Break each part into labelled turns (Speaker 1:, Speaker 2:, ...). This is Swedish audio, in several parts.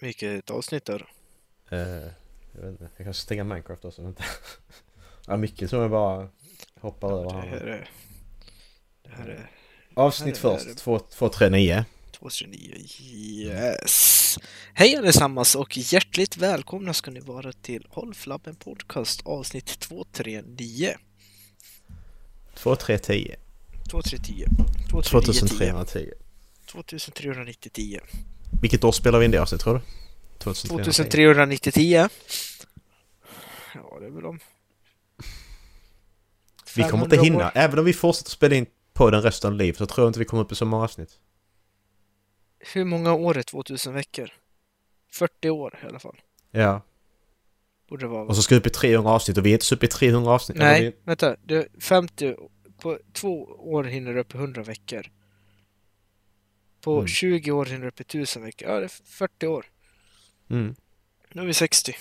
Speaker 1: Vilket avsnitt är det?
Speaker 2: Eh, jag vet inte, jag kanske stänger Minecraft också, vänta. ja, mycket tror jag bara hoppar över
Speaker 1: Det
Speaker 2: här.
Speaker 1: här är... Det här är
Speaker 2: Avsnitt
Speaker 1: det här är-
Speaker 2: först, 239.
Speaker 1: 229. Yes! Hej allesammans och hjärtligt välkomna ska ni vara till Håll Flabben Podcast avsnitt 239.
Speaker 2: 2310.
Speaker 1: 2310.
Speaker 2: 2310.
Speaker 1: 2390.
Speaker 2: Vilket år spelar vi in det avsnittet tror du? 2310.
Speaker 1: 2390. Ja, det är väl om...
Speaker 2: Vi kommer
Speaker 1: 500
Speaker 2: inte hinna,
Speaker 1: år.
Speaker 2: även om vi fortsätter spela in podden resten av livet så tror jag inte vi kommer upp i så många avsnitt.
Speaker 1: Hur många år är 2000 veckor? 40 år i alla fall.
Speaker 2: Ja,
Speaker 1: Borde det vara. va?
Speaker 2: och så ska vi upp i 300 avsnitt och vi är inte så uppe i 300 avsnitt. Eller
Speaker 1: Nej,
Speaker 2: Vi...
Speaker 1: vänta. Du, 50... På två år hinner du upp i 100 veckor. På
Speaker 2: Mm.
Speaker 1: 20 år hinner du upp i 1000 veckor. Ja, det är 40 år.
Speaker 2: Mm.
Speaker 1: Nu är vi 60,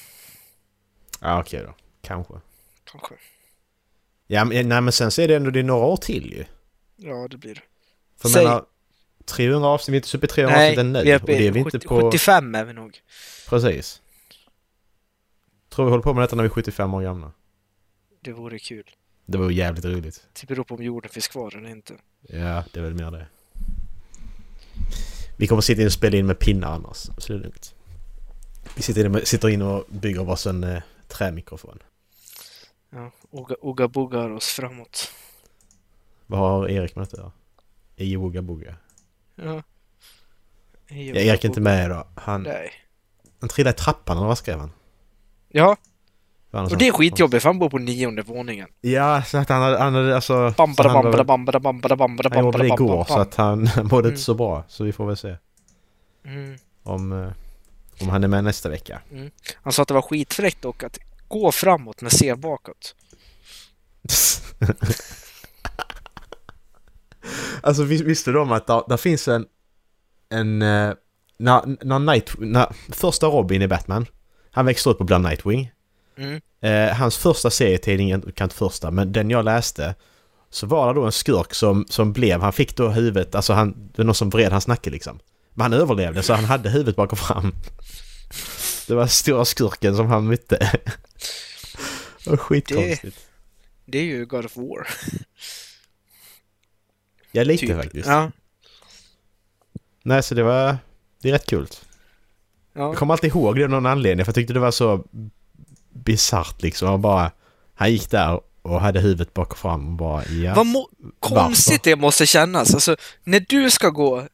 Speaker 2: Ja, okej då. Kanske.
Speaker 1: kanske.
Speaker 2: Ja, men, nej, men sen så är det ändå det är några år till ju.
Speaker 1: Ja, det blir det.
Speaker 2: För jag
Speaker 1: Säg-
Speaker 2: menar, 300 avsnitt, vi är inte så uppe i 300 avsnitt än nu.
Speaker 1: vi är
Speaker 2: och
Speaker 1: uppe i
Speaker 2: det är vi inte
Speaker 1: 70
Speaker 2: på...
Speaker 1: 75 är vi nog.
Speaker 2: Precis. Tror vi håller på med detta när vi är 75 år gamla.
Speaker 1: Det vore kul.
Speaker 2: Det var ju jävligt roligt.
Speaker 1: Det beror på om jorden finns kvar eller inte.
Speaker 2: Ja, det är väl mer det. Vi kommer sitta in och spela in med pinnar annars, så det är lugnt. Vi sitter in, med, sitter in och bygger varsin eh, trämikrofon.
Speaker 1: Ja, Oga, oga bogar oss framåt.
Speaker 2: Vad har Erik med detta att göra? I Wooga Booga.
Speaker 1: Ja.
Speaker 2: Ja, Erik är inte med idag. Han,
Speaker 1: Nej.
Speaker 2: han trillade i trappan eller vad skrev han?
Speaker 1: Ja,
Speaker 2: Var han
Speaker 1: och det är
Speaker 2: sån-
Speaker 1: skitjobbigt för han bor på nionde våningen.
Speaker 2: Ja, så att han hade, han hade alltså... så
Speaker 1: Bambada,
Speaker 2: han var-
Speaker 1: bambada, bambada, bambada, bambada,
Speaker 2: Han gjorde
Speaker 1: bambada,
Speaker 2: det
Speaker 1: bambada,
Speaker 2: igår så
Speaker 1: bam.
Speaker 2: att han mådde
Speaker 1: Mm.
Speaker 2: inte så bra. Så vi får väl se
Speaker 1: Mm.
Speaker 2: om, eh, om han är med nästa vecka.
Speaker 1: Han sa att det var skitfräckt och att gå framåt men se bakåt.
Speaker 2: alltså vis, visste du om att där, där finns en... En... eh, När, när Night... När första Robin i Batman. Han växte upp och blev Nightwing.
Speaker 1: Mm.
Speaker 2: Eh, hans första serietidning, jag kan inte första, men den jag läste. Så var det då en skurk som, som blev, han fick då huvudet, alltså han, det var någon som vred hans nacke liksom. Men han överlevde så han hade huvudet bakom fram. Det var stora skurken som han mötte. Det var skitkonstigt.
Speaker 1: Det är ju God of War.
Speaker 2: Ja lite
Speaker 1: typ.
Speaker 2: faktiskt.
Speaker 1: Ja.
Speaker 2: Nej så det var, det är rätt kul.
Speaker 1: ja.
Speaker 2: Jag kommer alltid ihåg det av någon anledning för jag tyckte det var så bisarrt liksom. Han bara, han gick där och hade huvudet bakom fram och bara ja.
Speaker 1: Vad må- konstigt det måste kännas. Alltså, när du ska gå...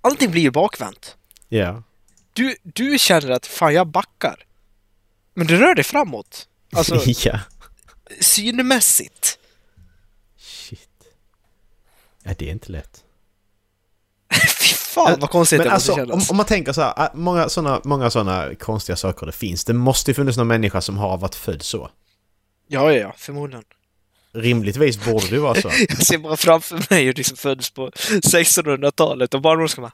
Speaker 1: Allting blir ju bakvänt.
Speaker 2: Ja.
Speaker 1: Du, du känner att fan, jag backar. Men du rör dig framåt. Alltså,
Speaker 2: ja.
Speaker 1: synmässigt.
Speaker 2: Shit. Ja, det är inte lätt.
Speaker 1: Fy fan vad konstigt
Speaker 2: Men
Speaker 1: det måste
Speaker 2: alltså, om,
Speaker 1: kännas.
Speaker 2: om man tänker så här, att många sådana många såna konstiga saker det finns. Det måste ju finnas någon människa som har varit född så.
Speaker 1: Ja, ja, ja, förmodligen.
Speaker 2: Rimligtvis borde det ju vara så.
Speaker 1: Jag ser bara framför mig hur det som föddes på 1600-talet och barnmorskan bara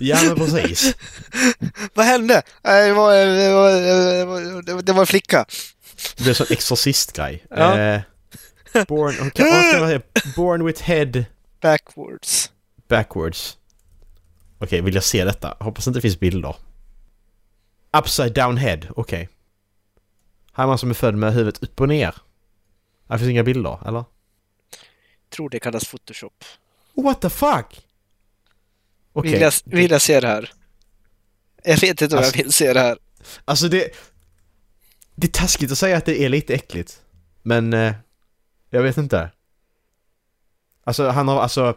Speaker 2: Ja, men precis.
Speaker 1: Vad hände? Nej, Det var, det var, det var, det var en flicka.
Speaker 2: Det blir en sån exorcist-grej.
Speaker 1: Ja.
Speaker 2: Eh, born, vad kan- vad ska man säga? born with head
Speaker 1: Backwards.
Speaker 2: backwards. Okej, vill jag se detta? Hoppas inte det finns bilder. Upside down head, okej. Här är man som är född med huvudet upp och ner. Här finns inga bilder, eller?
Speaker 1: Tror det kallas photoshop.
Speaker 2: What the fuck? Okej,
Speaker 1: Vill, jag, vill jag se det här? Jag vet inte om
Speaker 2: Alltså-
Speaker 1: jag vill se det här.
Speaker 2: alltså det... Det är taskigt att säga att det är lite äckligt. Men... Eh, jag vet inte. Alltså han har, alltså...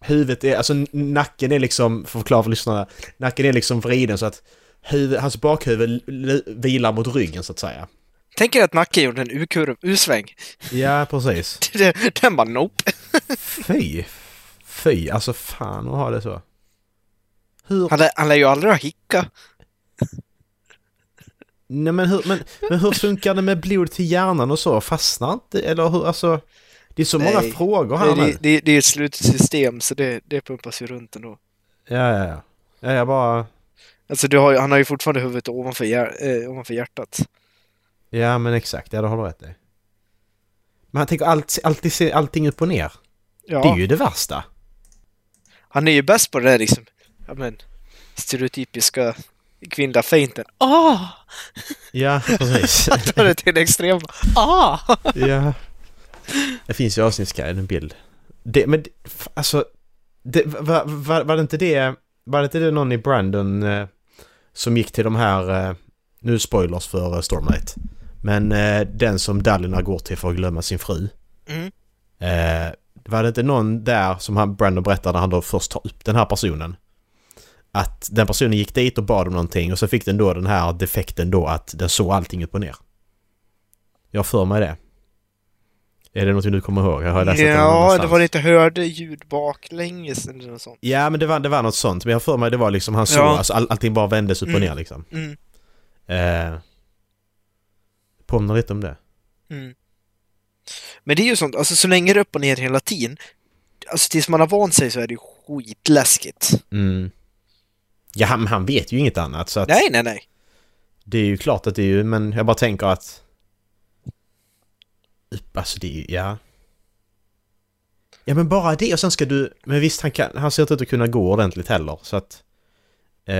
Speaker 2: Huvudet är, alltså n- nacken är liksom, för att förklara för lyssnarna, nacken är liksom vriden så att huvud, hans bakhuvud l- l- vilar mot ryggen så att säga.
Speaker 1: Tänk er att nacken gjorde en U-kurv, U-sväng.
Speaker 2: Ja, precis.
Speaker 1: Den bara nope.
Speaker 2: Fy! Fy, alltså fan att ha det så. Hur
Speaker 1: Han lär, han lär ju aldrig ha hicka.
Speaker 2: Nej men hur, men, men hur funkar det med blod till hjärnan och så? Fastnar inte? Eller hur, alltså? Det är så
Speaker 1: Nej.
Speaker 2: många frågor här
Speaker 1: Det,
Speaker 2: nu.
Speaker 1: det, det, det är ett slutet system så det, det pumpas ju runt ändå.
Speaker 2: Ja, ja, ja. Ja, jag bara...
Speaker 1: Alltså du har, ju- han har ju fortfarande huvudet ovanför, hjär, eh, ovanför hjärtat.
Speaker 2: Ja, men exakt. Ja, det har du rätt i. Men han tänker allt, alltid se allting upp och ner. Det är
Speaker 1: Ja,
Speaker 2: ju det värsta.
Speaker 1: han är ju bäst på det där liksom. Ja men, stereotypiska kvinnliga feinten. Ah!
Speaker 2: Ja, precis.
Speaker 1: Han tar det till det extrema. Ah!
Speaker 2: ja. Det finns ju i avsnittsguiden en bild. Det, men det- f- alltså, det, var, var, var det inte det, var det inte det någon i Brandon eh, som gick till de här, eh, nu spoilers för eh, Stormlight, men eh, den som Dallina går till för att glömma sin fru.
Speaker 1: Mm.
Speaker 2: Eh, var det inte någon där som han, Brandon berättar när han då först tar upp den här personen? Att den personen gick dit och bad om någonting och så fick den då den här defekten då att den såg allting upp och ner. Jag har för mig det. Är det någonting du kommer ihåg? Jag har läst det
Speaker 1: Ja, det
Speaker 2: någonstans.
Speaker 1: var lite hörde ljud baklänges eller något sånt.
Speaker 2: Ja, men det var, det var något sånt. Men jag har för mig det var liksom han såg,
Speaker 1: Ja.
Speaker 2: alltså, all, allting bara vändes upp och
Speaker 1: Mm.
Speaker 2: ner liksom.
Speaker 1: Mm.
Speaker 2: Eh, påminner lite om det.
Speaker 1: Mm. Men det är ju sånt, alltså så länge det är upp och ner hela tiden, alltså tills man har vant sig så är det ju skitläskigt.
Speaker 2: Mm. Ja, han, han vet ju inget annat så att...
Speaker 1: Nej, nej, nej.
Speaker 2: Det är ju klart att det är ju, men jag bara tänker att... Upp, Alltså det är ju, ja. Ja men bara det och sen ska du... Men visst, han, kan, han ser inte ut att kunna gå ordentligt heller så att... Eh,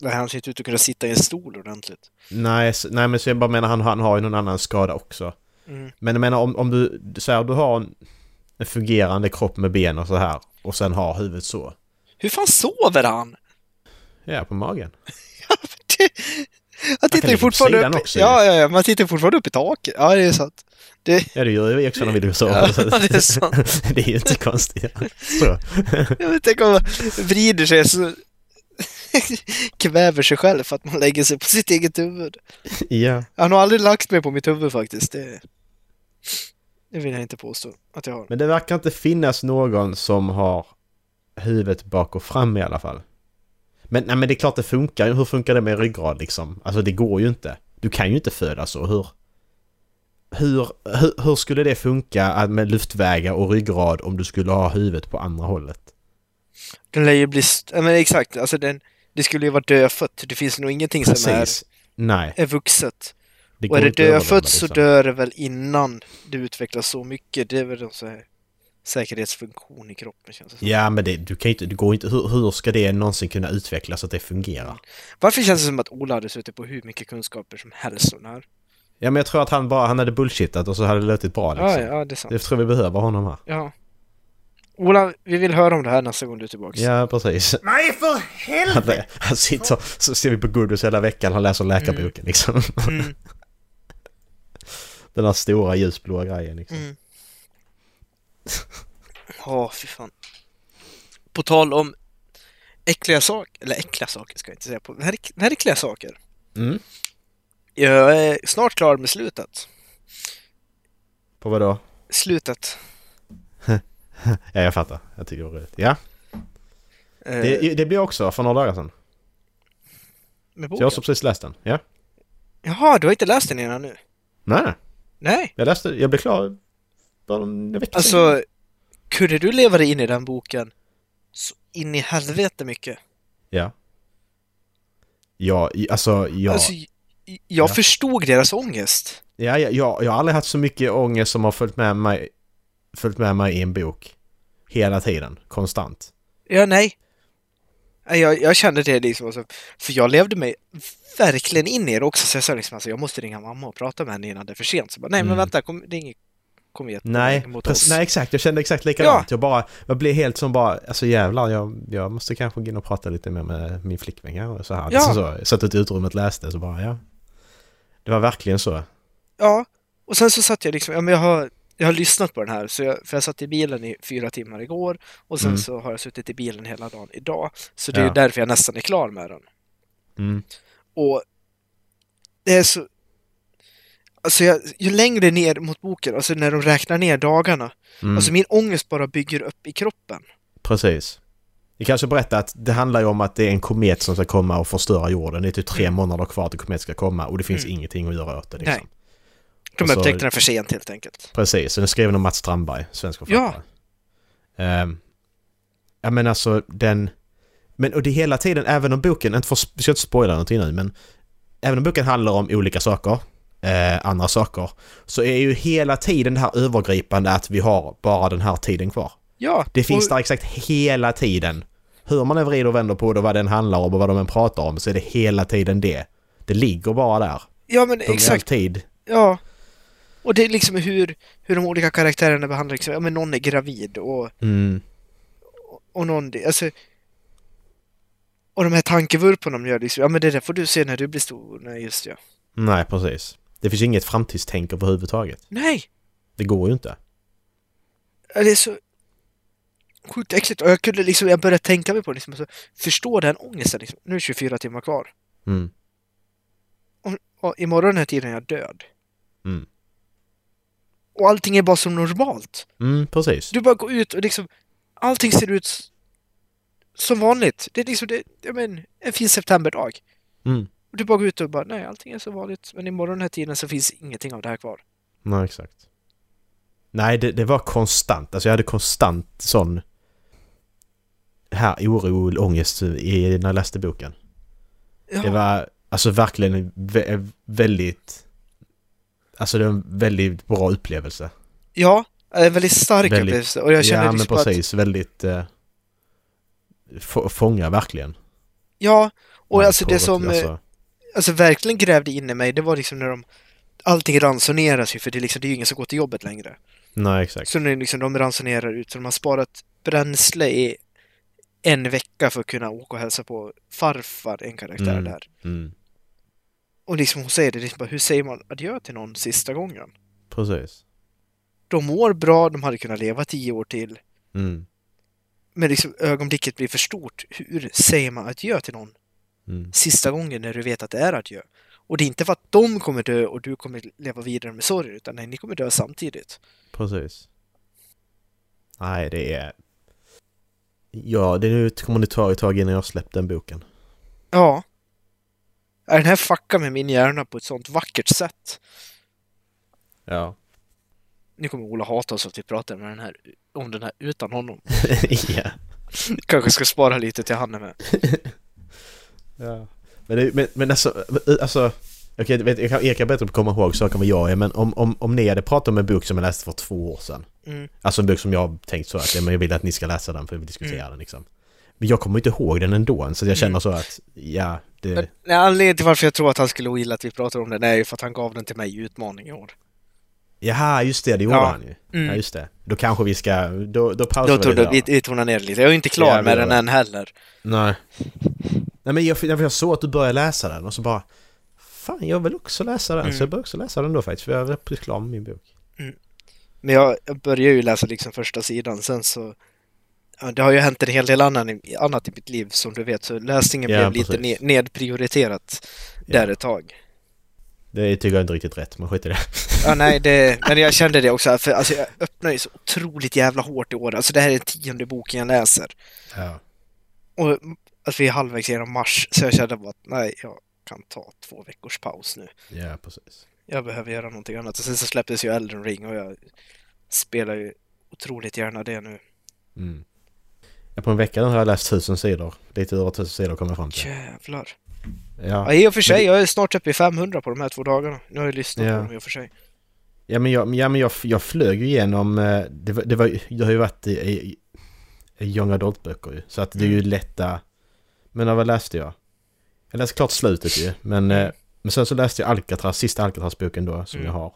Speaker 1: Det här ser inte ut att kunna sitta i en stol ordentligt.
Speaker 2: nej, s- nej men så jag bara menar han, han har ju någon annan skada också.
Speaker 1: Mm.
Speaker 2: Men jag menar om, om du, så här, du har en, en fungerande kropp med ben och så här och sen har huvudet så.
Speaker 1: Hur fan sover han?
Speaker 2: Ja, på magen.
Speaker 1: Jag tittar
Speaker 2: ligga
Speaker 1: ju
Speaker 2: på
Speaker 1: fortfarande
Speaker 2: sidan
Speaker 1: upp.
Speaker 2: också,
Speaker 1: ja, ja, ja, man tittar ju fortfarande upp i taket. Ja, det är sant. Det,
Speaker 2: Ja det gör ju också när vi så.
Speaker 1: ja, det är sant.
Speaker 2: det är ju inte konstigt. Så.
Speaker 1: Jag vet, tänk om man vrider sig så kväver sig själv för att man lägger sig på sitt eget huvud.
Speaker 2: Ja.
Speaker 1: Han har aldrig lagt mig på mitt huvud faktiskt. Det, det vill jag inte påstå att jag har.
Speaker 2: Men det verkar inte finnas någon som har huvudet bak och fram i alla fall. Men, nej, men det är klart det funkar ju. Hur funkar det med ryggrad liksom? Alltså det går ju inte. Du kan ju inte föda så. Hur, hur, hur, hur skulle det funka att- med luftvägar och ryggrad om du skulle ha huvudet på andra hållet?
Speaker 1: Den lär ju bli... St- ja, men exakt, alltså den, det skulle ju vara dödfött. Det finns nog ingenting som är,
Speaker 2: Nej.
Speaker 1: är vuxet.
Speaker 2: Det
Speaker 1: Och är det
Speaker 2: inte att överleva,
Speaker 1: dödfött så
Speaker 2: liksom.
Speaker 1: dör det väl innan det utvecklas så mycket. Det är väl en sån här säkerhetsfunktion i kroppen känns det som.
Speaker 2: Ja men det, du kan ju inte, det går inte, hur, hur ska det någonsin kunna utvecklas så att det fungerar?
Speaker 1: Varför känns det som att Ola hade suttit på hur mycket kunskaper som helst om det här?
Speaker 2: Ja men jag tror att han bara, han hade bullshittat och så hade det låtit bra liksom.
Speaker 1: Ah, Ja, ja, det är sant.
Speaker 2: Jag tror vi behöver honom här.
Speaker 1: Ja. Ola, vi vill höra om det här nästa gång du är tillbaka.
Speaker 2: Ja, precis. Nej, för helvete! Han, han sitter, så ser vi på Goodwiss hela veckan, han läser läkarboken liksom.
Speaker 1: Mm,
Speaker 2: Den här stora ljusblåa grejen liksom.
Speaker 1: mm. Ja, fy fan. På tal om äckliga saker, eller äckliga saker ska jag inte säga, på verk- verkliga saker.
Speaker 2: Mm.
Speaker 1: Jag är snart klar med slutet.
Speaker 2: På vad då?
Speaker 1: Slutet.
Speaker 2: Ja, jag fattar. Jag tycker det var roligt. Ja,
Speaker 1: Eh,
Speaker 2: det, det blir jag också för några dagar sedan.
Speaker 1: med
Speaker 2: Så jag har
Speaker 1: boken.
Speaker 2: också precis läst den. Ja.
Speaker 1: Jaha, du har inte läst den innan nu?
Speaker 2: Nej,
Speaker 1: Nej.
Speaker 2: jag läste, jag blev klar bara en vecka sedan.
Speaker 1: Alltså, kunde du leva dig in i den boken så in i helvete mycket?
Speaker 2: Ja. Ja, i- alltså, ja.
Speaker 1: Alltså, j- j- jag
Speaker 2: Ja.
Speaker 1: förstod deras ångest.
Speaker 2: Ja, ja, ja, jag har aldrig haft så mycket ångest som har följt med mig, följt med mig i en bok. Hela tiden, konstant.
Speaker 1: Ja, nej. Nej, Jag, jag kände det liksom, alltså, för jag levde mig verkligen in i det också. Så jag sa liksom, alltså, jag måste ringa mamma och prata med henne innan det är för sent. Så bara, nej men
Speaker 2: Mm.
Speaker 1: vänta, kom, det är inget, kom igen.
Speaker 2: Nej,
Speaker 1: mot
Speaker 2: precis,
Speaker 1: oss.
Speaker 2: nej exakt, jag kände exakt likadant.
Speaker 1: Ja.
Speaker 2: Jag bara, jag blev helt som bara, alltså jävlar, jag, jag måste kanske gå in och prata lite mer med min flickvän här och så här.
Speaker 1: Ja.
Speaker 2: Liksom så, jag satt ute i utrymmet, läste, så bara ja. Det var verkligen så.
Speaker 1: Ja, och sen så satt jag liksom, ja men jag har, jag har lyssnat på den här, så jag, för jag satt i bilen i fyra timmar igår och sen
Speaker 2: Mm.
Speaker 1: så har jag suttit i bilen hela dagen idag. Så det är
Speaker 2: Ja.
Speaker 1: ju därför jag nästan är klar med den.
Speaker 2: Mm.
Speaker 1: Och det är så... Alltså jag, ju längre ner mot boken, alltså när de räknar ner dagarna,
Speaker 2: Mm.
Speaker 1: alltså min ångest bara bygger upp i kroppen.
Speaker 2: precis. Vi kanske berättar att det handlar ju om att det är en komet som ska komma och förstöra jorden. Det är typ tre
Speaker 1: Mm.
Speaker 2: månader kvar till kometen ska komma och det finns
Speaker 1: Mm.
Speaker 2: ingenting att göra åt det. Liksom.
Speaker 1: Nej. De
Speaker 2: Alltså-
Speaker 1: upptäckte den för sent helt enkelt.
Speaker 2: Precis, den är skriven av Mats Strandberg, svensk författare. Ja. ja men alltså den... Men och det är hela tiden, även om boken, inte för, vi ska inte spoila någonting nu, men även om boken handlar om olika saker, eh, andra saker, så är ju hela tiden det här övergripande att vi har bara den här tiden kvar.
Speaker 1: Ja,
Speaker 2: Det finns
Speaker 1: och,
Speaker 2: där exakt hela tiden. hur man än vrider och vänder på det och vad den handlar om och vad de än pratar om så är det hela tiden det. Det ligger bara där.
Speaker 1: Ja men
Speaker 2: De
Speaker 1: exakt,
Speaker 2: Alltid.
Speaker 1: ja. Och det är liksom hur, hur de olika karaktärerna behandlar liksom, ja men någon är gravid och,
Speaker 2: Mm.
Speaker 1: och någon, alltså och de här tankevurporna de gör liksom, ja men det där får du se när du blir stor. Nej, just ja.
Speaker 2: Nej, precis. Det finns ju inget framtidstänk överhuvudtaget.
Speaker 1: Nej!
Speaker 2: Det går ju inte.
Speaker 1: Ja, Det är så sjukt äckligt. Och jag kunde liksom, jag började tänka mig på det liksom, alltså, förstå den ångesten liksom. Nu är det 24 timmar kvar.
Speaker 2: Mm.
Speaker 1: Och imorgon den här tiden är jag död.
Speaker 2: Mm.
Speaker 1: Och allting är bara som normalt.
Speaker 2: Mm, precis.
Speaker 1: Du bara går ut och liksom, allting ser ut s- som vanligt. Det är liksom, det, jag men, en fin septemberdag.
Speaker 2: Mm.
Speaker 1: Och du bara går ut och bara, nej allting är som vanligt. Men imorgon den här tiden så finns ingenting av det här kvar.
Speaker 2: Nej, exakt. Nej, det, det var konstant. Alltså jag hade konstant sån här oro och ångest i, när jag läste boken.
Speaker 1: Ja,
Speaker 2: Det var alltså verkligen en vä- väldigt... Alltså det var en väldigt bra upplevelse.
Speaker 1: ja en väldigt stark
Speaker 2: Väldigt.
Speaker 1: upplevelse. Och jag känner
Speaker 2: ja, men
Speaker 1: liksom att,
Speaker 2: precis. Väldigt... Eh, få, fånga verkligen.
Speaker 1: ja, och
Speaker 2: Man
Speaker 1: alltså
Speaker 2: får
Speaker 1: det som... eh,
Speaker 2: alltså,
Speaker 1: alltså verkligen grävde in i mig, det var liksom när de Allting ransoneras ju för det är, liksom, det är ju ingen som går till jobbet längre.
Speaker 2: Nej, exakt.
Speaker 1: Så nu liksom de ransonerar ut, så de har sparat bränsle i en vecka för att kunna åka och hälsa på farfar, en karaktär
Speaker 2: Mm.
Speaker 1: där.
Speaker 2: Mm,
Speaker 1: Och liksom hon säger det, liksom bara, hur säger man adjö till någon sista gången?
Speaker 2: precis.
Speaker 1: De mår bra, de hade kunnat leva tio år till,
Speaker 2: Mm,
Speaker 1: men liksom ögonblicket blir för stort. Hur säger man adjö till någon
Speaker 2: mm,
Speaker 1: sista gången när du vet att det är adjö. Och det är inte för att de kommer dö och du kommer leva vidare med sorgen, utan nej, ni kommer dö samtidigt.
Speaker 2: precis. Nej, det är... Ja, det är nu kommer det ta ett tag innan jag släppt den boken.
Speaker 1: Ja. Är den här fuckar med min hjärna på ett sånt vackert sätt?
Speaker 2: Ja.
Speaker 1: Nu kommer Ola hata oss att vi pratar med den här, om den här utan honom.
Speaker 2: ja.
Speaker 1: Kanske ska spara lite till han är med.
Speaker 2: Ja. Men, det, men, men alltså, alltså okej, vet, jag kan, jag kan bättre komma ihåg saker än vad jag är, men om, om, om ni hade pratat om en bok som jag läste för två år sedan.
Speaker 1: Mm.
Speaker 2: Alltså en bok som jag tänkt så att ja, men jag vill att ni ska läsa den för vi diskuterar den liksom. Men jag kommer inte ihåg den ändå, så jag känner så att ja,
Speaker 1: Men,
Speaker 2: det...
Speaker 1: nej, anledningen till varför jag tror att han skulle ogilla att vi pratar om den är ju för att han gav den till mig i utmaning i år.
Speaker 2: Jaha, just det, det gjorde
Speaker 1: Ja.
Speaker 2: han ju.
Speaker 1: Mm.
Speaker 2: Ja, just det. Då kanske vi ska... Då, då pausar
Speaker 1: Då tog
Speaker 2: vi
Speaker 1: du,
Speaker 2: det
Speaker 1: vi,
Speaker 2: där.
Speaker 1: vi tonar ner det lite. Jag är inte klar
Speaker 2: Ja, vi
Speaker 1: med
Speaker 2: gör
Speaker 1: den
Speaker 2: det.
Speaker 1: än heller.
Speaker 2: Nej. Nej, men jag, jag, jag såg att du började läsa den och så bara... Fan, jag vill också läsa den.
Speaker 1: Mm.
Speaker 2: Så jag började också läsa den då faktiskt, för jag var precis klar med min bok.
Speaker 1: Men jag, jag börjar ju läsa liksom första sidan, sen så... Ja, det har ju hänt en hel del annan, i- annat i mitt liv som du vet, så läsningen
Speaker 2: Ja,
Speaker 1: blev lite
Speaker 2: precis.
Speaker 1: ne- nedprioriterat
Speaker 2: Ja.
Speaker 1: där ett tag.
Speaker 2: Det tycker jag inte riktigt rätt, men skit i det.
Speaker 1: Ja, nej, det, men jag kände det också, för alltså, jag öppnar ju så otroligt jävla hårt i år. Alltså det här är den tionde boken jag läser.
Speaker 2: Ja.
Speaker 1: Och att vi är halvvägs genom mars, så jag kände bara att nej, jag kan ta två veckors paus nu.
Speaker 2: Ja, precis.
Speaker 1: Jag behöver göra någonting annat. Och sen så släpptes ju Elden Ring och jag spelar ju otroligt gärna det nu.
Speaker 2: Mm. Ja, på en vecka nu har jag läst tusen sidor. Lite över tusen sidor kommer jag fram till.
Speaker 1: Jävlar. Ja,
Speaker 2: Ja,
Speaker 1: i och för sig.
Speaker 2: Men
Speaker 1: Jag är snart uppe i 500 på de här två dagarna. Nu har jag lyssnat
Speaker 2: Ja.
Speaker 1: på dem i och för sig.
Speaker 2: ja men, jag, ja, men jag, jag flög ju igenom... eh, Det, var, det, var, det har ju varit i, i, i Young Adult-böcker ju. Så att det är
Speaker 1: Mm.
Speaker 2: ju lätta... Men vad läste jag? Jag läste klart slutet ju. Men, eh, men sen så läste jag Alcatraz, sista Alcatraz-boken då, som
Speaker 1: Mm.
Speaker 2: jag har.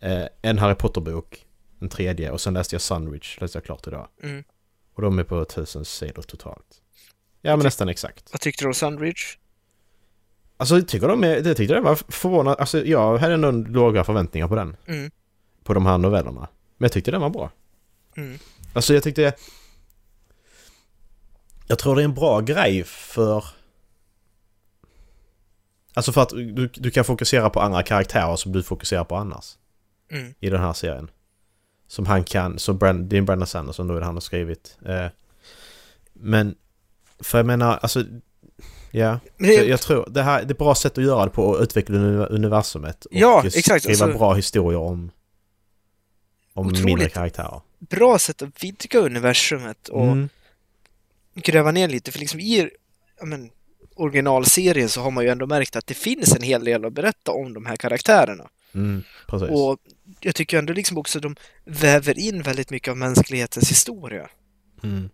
Speaker 2: Eh, En Harry Potter-bok, en tredje. Och sen läste jag Sunridge, läste jag klart idag.
Speaker 1: Mm.
Speaker 2: Och de är på tusen sidor totalt. Ja, men nästan exakt.
Speaker 1: Vad tyckte du om Sandridge?
Speaker 2: Alltså jag tycker de är, det tyckte jag var förvånad. Alltså jag hade ändå låga förväntningar på den.
Speaker 1: Mm.
Speaker 2: På de här novellerna. Men jag tyckte den var bra.
Speaker 1: Mm.
Speaker 2: Alltså jag tyckte... Jag tror det är en bra grej för... Alltså för att du, du kan fokusera på andra karaktärer som du fokuserar på annars.
Speaker 1: Mm.
Speaker 2: I den här serien. Som han kan, som Brand, det är Brandon Sanderson då är det han har skrivit. Eh, men... För jag menar, alltså... Ja.
Speaker 1: Men det,
Speaker 2: Jag, jag tror det här det är ett bra sätt att göra det på att utveckla uni- universumet. Och
Speaker 1: Ja,
Speaker 2: just
Speaker 1: exakt,
Speaker 2: skriva
Speaker 1: alltså-
Speaker 2: bra historier om, om
Speaker 1: Otroligt.
Speaker 2: mindre karaktärer.
Speaker 1: Bra sätt att vidga universumet och
Speaker 2: Mm,
Speaker 1: gräva ner lite. För liksom i ja, men, originalserien så har man ju ändå märkt att det finns en hel del att berätta om de här karaktärerna.
Speaker 2: mm, precis.
Speaker 1: Och jag tycker ändå liksom också de väver in väldigt mycket av mänsklighetens historia.
Speaker 2: Mm.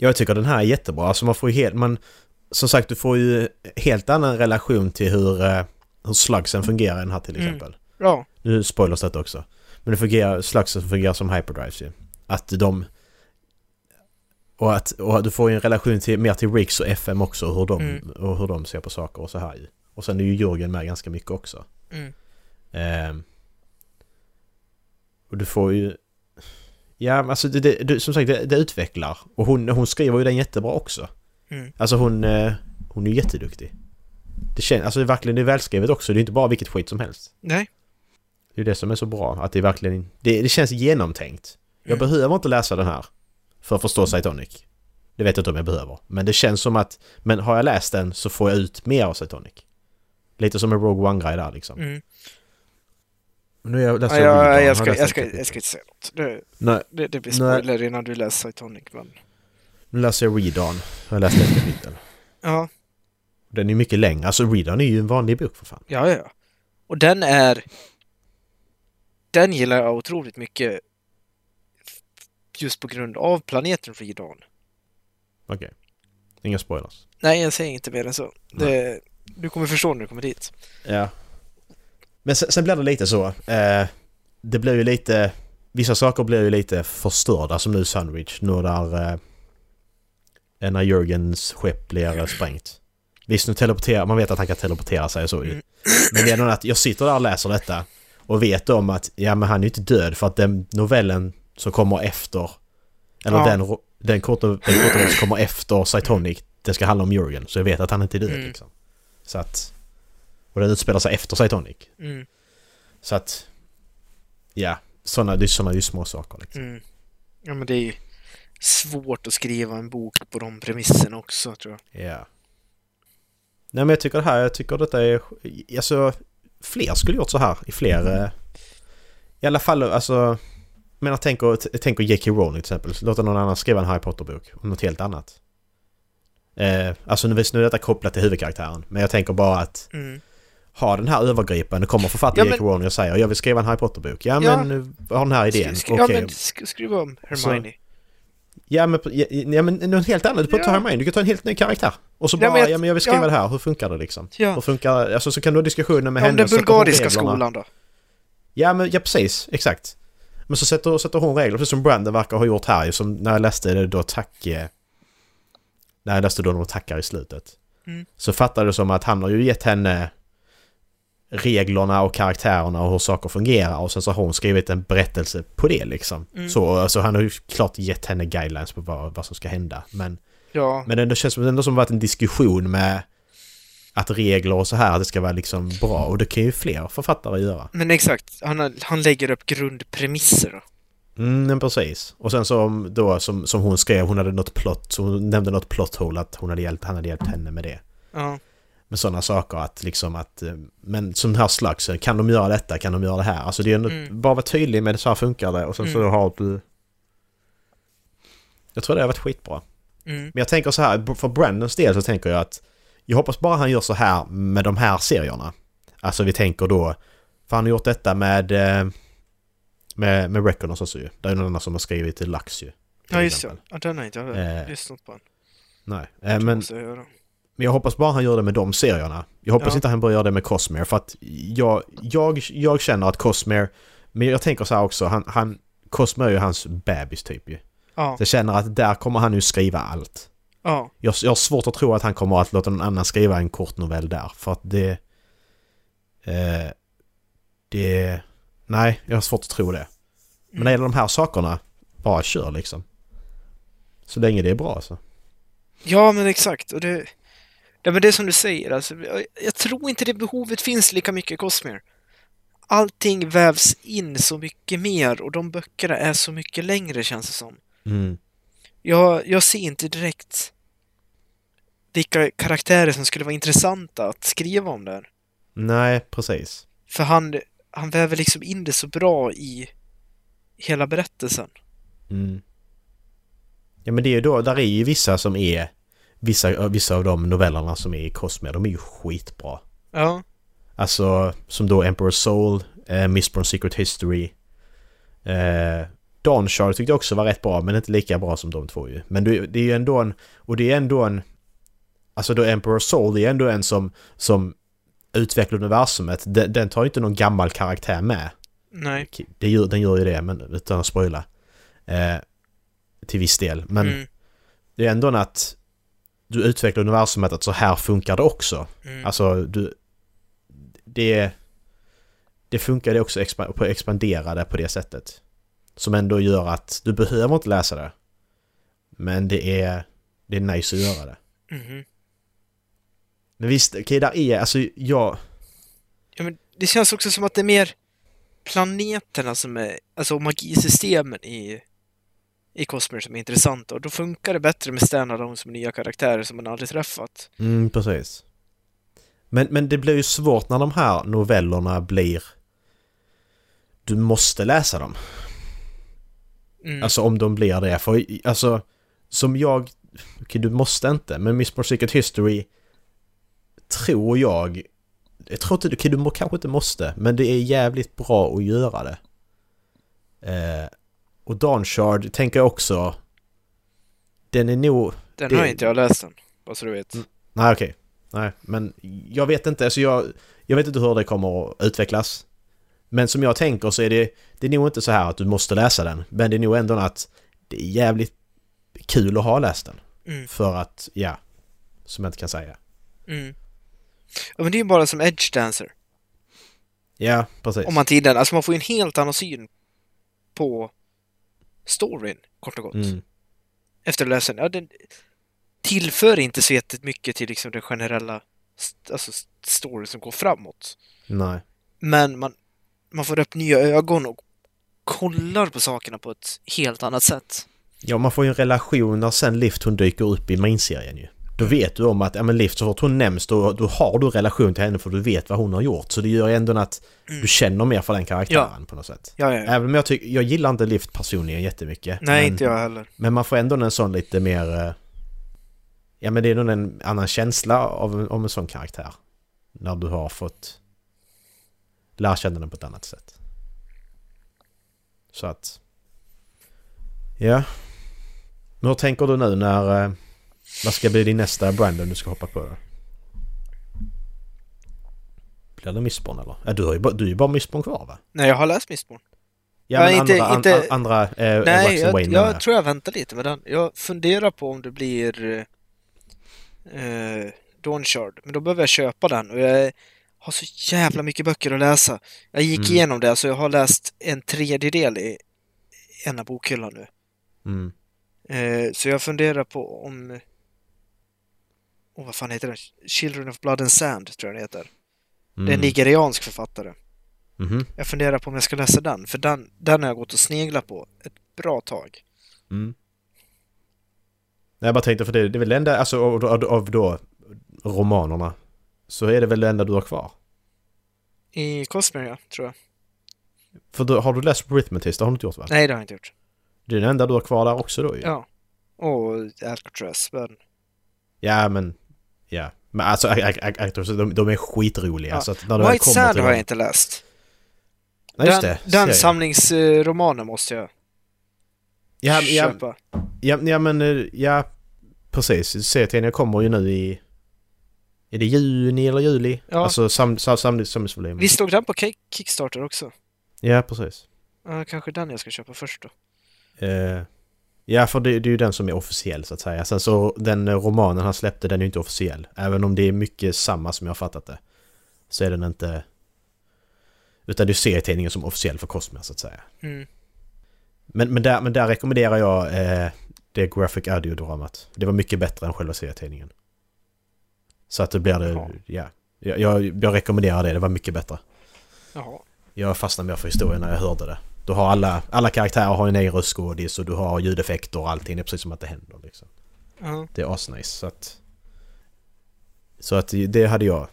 Speaker 2: Jag tycker den här är jättebra. Alltså man får ju helt... Man, som sagt, du får ju helt annan relation till hur, eh, hur slugsen fungerar i den här till
Speaker 1: Mm.
Speaker 2: exempel.
Speaker 1: Ja,
Speaker 2: Nu spoilers detta också. Men det fungerar, slugsen fungerar som hyperdrives ju. Att de... Och att, och du får ju en relation till, mer till Riggs och FM också och hur, de,
Speaker 1: Mm.
Speaker 2: och hur de ser på saker och så här ju. Och sen är ju Jörgen med ganska mycket också.
Speaker 1: Mm.
Speaker 2: Ehm. och du får ju... Ja, men alltså det, det, du- som sagt det, det utvecklar. Och hon, hon skriver ju den jättebra också.
Speaker 1: Mm.
Speaker 2: Alltså hon, eh, hon är ju jätteduktig. Det känns, alltså det är verkligen det är välskrivet också. Det är inte bara vilket skit som helst.
Speaker 1: nej.
Speaker 2: Det är det som är så bra, att det är verkligen... Det, det känns genomtänkt. Jag
Speaker 1: Mm.
Speaker 2: behöver inte läsa den här för att förstå Cytonic. Det vet jag inte om jag behöver. Men det känns som att... Men har jag läst den så får jag ut mer av Cytonic. Lite som en Rogue One-grej där liksom.
Speaker 1: Mm.
Speaker 2: Nu är jag, läser
Speaker 1: Ja, jag,
Speaker 2: Reborn,
Speaker 1: jag,
Speaker 2: har
Speaker 1: ska,
Speaker 2: läst
Speaker 1: jag,
Speaker 2: ett
Speaker 1: ska,
Speaker 2: kapitel.
Speaker 1: jag ska inte säga något. Det,
Speaker 2: Nej,
Speaker 1: det, det blir
Speaker 2: Nej.
Speaker 1: spoiler innan du läser Titanic. Men...
Speaker 2: nu läser jag Redawn. Jag har läst ett kapitel.
Speaker 1: Ja,
Speaker 2: Den är mycket längre. Alltså Redawn är ju en vanlig bok för fan.
Speaker 1: ja, ja. Och den är... Den gillar jag otroligt mycket. Just på grund av planeten Redawn.
Speaker 2: Okej. Inga spoilers.
Speaker 1: Nej, jag säger inte mer än så. Det, du kommer förstå när du kommer dit.
Speaker 2: Ja. Men sen, sen blir det lite så. Eh, det blir ju lite... Vissa saker blir ju lite förstörda som nu Sunridge. Nu där... Eh, när Jörgens skepp blir eh, sprängt. Visst nu teleporterar... Man vet att han kan teleportera sig och så ju. Men det är nog att jag sitter där och läser detta. Och vet om att ja men han är ju inte död för att den novellen som kommer efter... Eller
Speaker 1: Ja.
Speaker 2: den, ro- den korta den korta som kommer efter Cytonic. Det ska handla om Jörgen. Så jag vet att han inte är död
Speaker 1: Mm.
Speaker 2: liksom. Så att... Och den utspelar sig efter Cytonic.
Speaker 1: Mm,
Speaker 2: Så att... Ja, såna, det är såna ju små saker liksom.
Speaker 1: mm. Ja, men det är ju svårt att skriva en bok på de premisserna också, tror jag.
Speaker 2: Ja. Nej men jag tycker det här, jag tycker detta är... Alltså, fler skulle gjort så här i fler... eh, I alla fall alltså... Jag menar tänk och, t- tänk och J.K. Rowling till exempel. Låta någon annan skriva en Harry Potter-bok om något helt annat. Eh, alltså nu, visst, nu är detta kopplat till huvudkaraktären. Men jag tänker bara att
Speaker 1: Mm.
Speaker 2: ha den här övergripande, kommer författaren
Speaker 1: Ja,
Speaker 2: J.K. Rowling och säger jag vill skriva en Harry Potter-bok. Ja,
Speaker 1: Ja.
Speaker 2: men eh, jag har den här
Speaker 1: Skri-
Speaker 2: idén.
Speaker 1: skri-
Speaker 2: Okej,
Speaker 1: ja, men sk- skriv om Hermione.
Speaker 2: Ja men, ja, ja, men något helt annat. Du får inte
Speaker 1: Ja.
Speaker 2: ta Hermione, du kan ta en helt ny karaktär. Och så
Speaker 1: Ja,
Speaker 2: bara,
Speaker 1: men jag-
Speaker 2: ja men jag vill skriva
Speaker 1: ja.
Speaker 2: det här, hur funkar det liksom?
Speaker 1: Ja.
Speaker 2: Hur funkar, alltså så kan du ha diskussioner med
Speaker 1: Om
Speaker 2: henne.
Speaker 1: den
Speaker 2: så kommer
Speaker 1: bulgariska
Speaker 2: reglerna.
Speaker 1: skolan då?
Speaker 2: Ja men, ja precis, exakt. Men så sätter, sätter hon regler, precis som Brandon verkar ha gjort här ju, som när jag läste det då tack... eh, När jag läste då de tackar i slutet.
Speaker 1: Mm.
Speaker 2: Så fattade det som att han har ju gett henne reglerna och karaktärerna och hur saker fungerar och sen så har hon skrivit en berättelse på det liksom.
Speaker 1: Mm.
Speaker 2: Så alltså, han har ju klart gett henne guidelines på vad, vad som ska hända. Men
Speaker 1: Ja.
Speaker 2: men det ändå känns som det ändå som varit en diskussion med att regler och så här, att det ska vara liksom bra. Och det kan ju fler författare göra.
Speaker 1: Men exakt, han, har- han lägger upp grundpremisser då.
Speaker 2: Mm, men precis. Och sen som då, som, som hon skrev, hon hade något plott, så hon nämnde något plot hole att hon hade hjälpt, han hade hjälpt henne med det.
Speaker 1: Ja.
Speaker 2: Med sådana saker att liksom att, eh, men som här slags, eh, kan de göra detta, kan de göra det här? Alltså det är ändå,
Speaker 1: Mm.
Speaker 2: bara vara tydlig med det, så här funkar det och sen så
Speaker 1: Mm.
Speaker 2: har du... Jag tror det har varit skitbra.
Speaker 1: Mm.
Speaker 2: Men jag tänker så här, för Brandons del så tänker jag att jag hoppas bara han gör så här med de här serierna. Alltså vi tänker då, för han har gjort detta med eh, med, med Reckoners också ju. Det är ju någon annan som har skrivit till Lax ju. till
Speaker 1: ja, just det.
Speaker 2: exempel.
Speaker 1: Ja, den har inte jag
Speaker 2: Eh,
Speaker 1: lyssnat på. än.
Speaker 2: Nej, eh, men,
Speaker 1: Måste jag göra.
Speaker 2: men jag hoppas bara han gör det med de serierna. Jag hoppas
Speaker 1: Ja.
Speaker 2: inte han börjar göra det med Cosmere för att jag, jag, jag känner att Cosmere, men jag tänker så här också, han, han Cosmere är ju hans bebis typ ju.
Speaker 1: Ja,
Speaker 2: Så jag känner att där kommer han ju skriva allt.
Speaker 1: ja,
Speaker 2: Jag, jag har svårt att tro att han kommer att låta någon annan skriva en kort novell där. För att det... Eh, det... Nej, jag har svårt att tro det. Men när det gäller de här sakerna, bara kör liksom. Så länge det är bra alltså.
Speaker 1: ja, men exakt. Och det, ja, men det är som du säger, alltså, jag, jag tror inte det behovet finns lika mycket i Cosmere. Allting vävs in så mycket mer och de böckerna är så mycket längre känns det som.
Speaker 2: Mm.
Speaker 1: Jag, jag ser inte direkt vilka karaktärer som skulle vara intressanta att skriva om där.
Speaker 2: Nej, precis.
Speaker 1: För han, han väver liksom in det så bra i hela berättelsen.
Speaker 2: Mm. Ja men det är ju då, där är ju vissa som är... Vissa, vissa av de novellerna som är i Cosmere, de är ju skitbra.
Speaker 1: Ja.
Speaker 2: Alltså som då Emperor Soul, eh, Mistborn Secret History, eh, Dawn Shard tyckte jag också var rätt bra, men inte lika bra som de två ju. Men det, det är ju ändå en... Och det är ändå en... Alltså då Emperor Soul, det är ändå en som, som utvecklar universumet. Den, den tar ju inte någon gammal karaktär med.
Speaker 1: Nej.
Speaker 2: Det gör, den gör ju det, men utan att spoila. Eh, till viss del. Men
Speaker 1: Mm.
Speaker 2: det är ändå en att du utvecklar universumet att så här funkar det också.
Speaker 1: Mm.
Speaker 2: Alltså, du... Det... Det funkar det också expa- på att expandera det på det sättet. Som ändå gör att du behöver inte läsa det. Men det är... Det är nice att göra det.
Speaker 1: Mhm.
Speaker 2: Men visst, okej, där är... Alltså, jag...
Speaker 1: Ja, men det känns också som att det är mer planeterna som är, alltså magisystemen i, i Cosmere som är intressanta och då funkar det bättre med standalone som nya karaktärer som man aldrig träffat.
Speaker 2: Mm, precis. Men, men det blir ju svårt när de här novellerna blir... Du måste läsa dem.
Speaker 1: Mm.
Speaker 2: Alltså om de blir det. För i- alltså, som jag... Okej, du måste inte, men Miss More Secret History tror jag... Jag tror inte... Okej, du må, kanske inte måste, men det är jävligt bra att göra det. Eh, och Dawn Shard tänker jag också... Den är nog...
Speaker 1: den
Speaker 2: det- Mm.
Speaker 1: har inte jag läst än, bara så du vet.
Speaker 2: Nej, okej. Nej, men jag vet inte. Alltså jag, jag vet inte hur det kommer att utvecklas. Men som jag tänker så är det, det är nog inte så här att du måste läsa den. Men det är nog ändå att det är jävligt kul att ha läst den.
Speaker 1: Mm.
Speaker 2: För att, ja, som jag inte kan säga.
Speaker 1: Mm. Ja, men det är ju bara som Edge Dancer,
Speaker 2: Ja, precis.
Speaker 1: om man tittar. Alltså man får ju en helt annan syn på storyn, kort och gott.
Speaker 2: mm.
Speaker 1: efter att läsa den. Ja, den tillför inte så jättemycket till liksom den generella st- alltså st- storyn som går framåt.
Speaker 2: Nej.
Speaker 1: Men man, man får upp nya ögon och kollar på sakerna på ett helt annat sätt.
Speaker 2: Ja, man får ju en relation när sen Lift hon dyker upp i main-serien ju. Då
Speaker 1: Mm.
Speaker 2: vet du om att, ja men Lift, så fort hon nämns då, då har du en relation till henne för du vet vad hon har gjort. Så det gör ju ändå att du känner mer för den karaktären på något sätt.
Speaker 1: Mm. Ja, ja, ja.
Speaker 2: Även om jag tycker, jag gillar inte Lift personligen jättemycket.
Speaker 1: Nej,
Speaker 2: men,
Speaker 1: inte jag heller.
Speaker 2: Men man får ändå en sån lite mer... eh, Ja men det är nog en annan känsla av, om en sån karaktär. När du har fått lära känna den på ett annat sätt. Så att... Ja. Men hur tänker du nu när... eh, Vad ska bli din nästa Brandon du ska hoppa på då? Blir det Missborn eller? Ja, du, har ju, bara- du är ju bara Missborn kvar va?
Speaker 1: Nej, jag har läst Mistborn.
Speaker 2: Ja,
Speaker 1: Ja,
Speaker 2: men
Speaker 1: inte-
Speaker 2: andra,
Speaker 1: inte-
Speaker 2: an, andra eh,
Speaker 1: Nej,
Speaker 2: Wax and
Speaker 1: jag,
Speaker 2: Wayne
Speaker 1: jag tror jag väntar lite med den. Jag funderar på om det blir eh, eh, Dawnshard, men då behöver jag köpa den och jag har så jävla mycket böcker att läsa. Jag gick
Speaker 2: Mm.
Speaker 1: igenom det, så jag har läst en tredjedel i ena bokhyllan nu.
Speaker 2: mm.
Speaker 1: Eh, så jag funderar på om... Åh, vad fan heter den? Children of Blood and Sand, tror jag den heter. Det är en nigeriansk författare.
Speaker 2: mm, Mhm.
Speaker 1: Jag funderar på om jag ska läsa den, för den, den har jag gått och sneglat på ett bra tag.
Speaker 2: Mm. Nej, jag bara tänkte för det, det är väl det enda, alltså av, av, av då romanerna, så är det väl det enda du har kvar.
Speaker 1: I Cosmere, ja, tror jag.
Speaker 2: För då, har du läst Rhythmatist? Det har du inte gjort va?
Speaker 1: Nej, det har jag inte gjort.
Speaker 2: Det är det enda du har kvar där också då ju.
Speaker 1: Ja. Och Alcatraz, men...
Speaker 2: ja men, ja. Men alltså, a- a- a- actors, de, de är skitroliga.
Speaker 1: Ja.
Speaker 2: Så att när du väl
Speaker 1: White
Speaker 2: kommer
Speaker 1: Sand
Speaker 2: till
Speaker 1: har
Speaker 2: dem-
Speaker 1: jag inte läst.
Speaker 2: Nej, just
Speaker 1: den
Speaker 2: det.
Speaker 1: den
Speaker 2: Serien.
Speaker 1: samlingsromanen måste jag
Speaker 2: ja, ja,
Speaker 1: köpa.
Speaker 2: ja, ja, men, eh, ja, precis. Serietidningen kommer ju nu i... Är det juni eller juli?
Speaker 1: Ja.
Speaker 2: Alltså sam, sam, sam, samlingsvolym.
Speaker 1: Visst stod den på Kick- Kickstarter också?
Speaker 2: Ja, precis.
Speaker 1: Ja, kanske den jag ska köpa först då.
Speaker 2: Eh, ja, för det, det är ju den som är officiell så att säga. Sen så den eh, romanen han släppte, den är ju inte officiell. Även om det är mycket samma som jag har fattat det. Så är den inte... Utan det är serietidningen som är officiell för Cosmia så att säga.
Speaker 1: Mm.
Speaker 2: Men, men, där, men där rekommenderar jag eh, det Graphic Audio-dramat. Det var mycket bättre än själva serietidningen. Så att det blir det...
Speaker 1: Jaha.
Speaker 2: Ja. Jag, jag, jag rekommenderar det, det var mycket bättre.
Speaker 1: Jaha.
Speaker 2: Jag fastnade mer för historien när jag hörde det. Du har alla, alla karaktärer har en egen röstskådis och du har ljudeffekter och allting. Det är precis som att det händer liksom.
Speaker 1: Ja.
Speaker 2: Det är asnice så att... Så att det hade jag.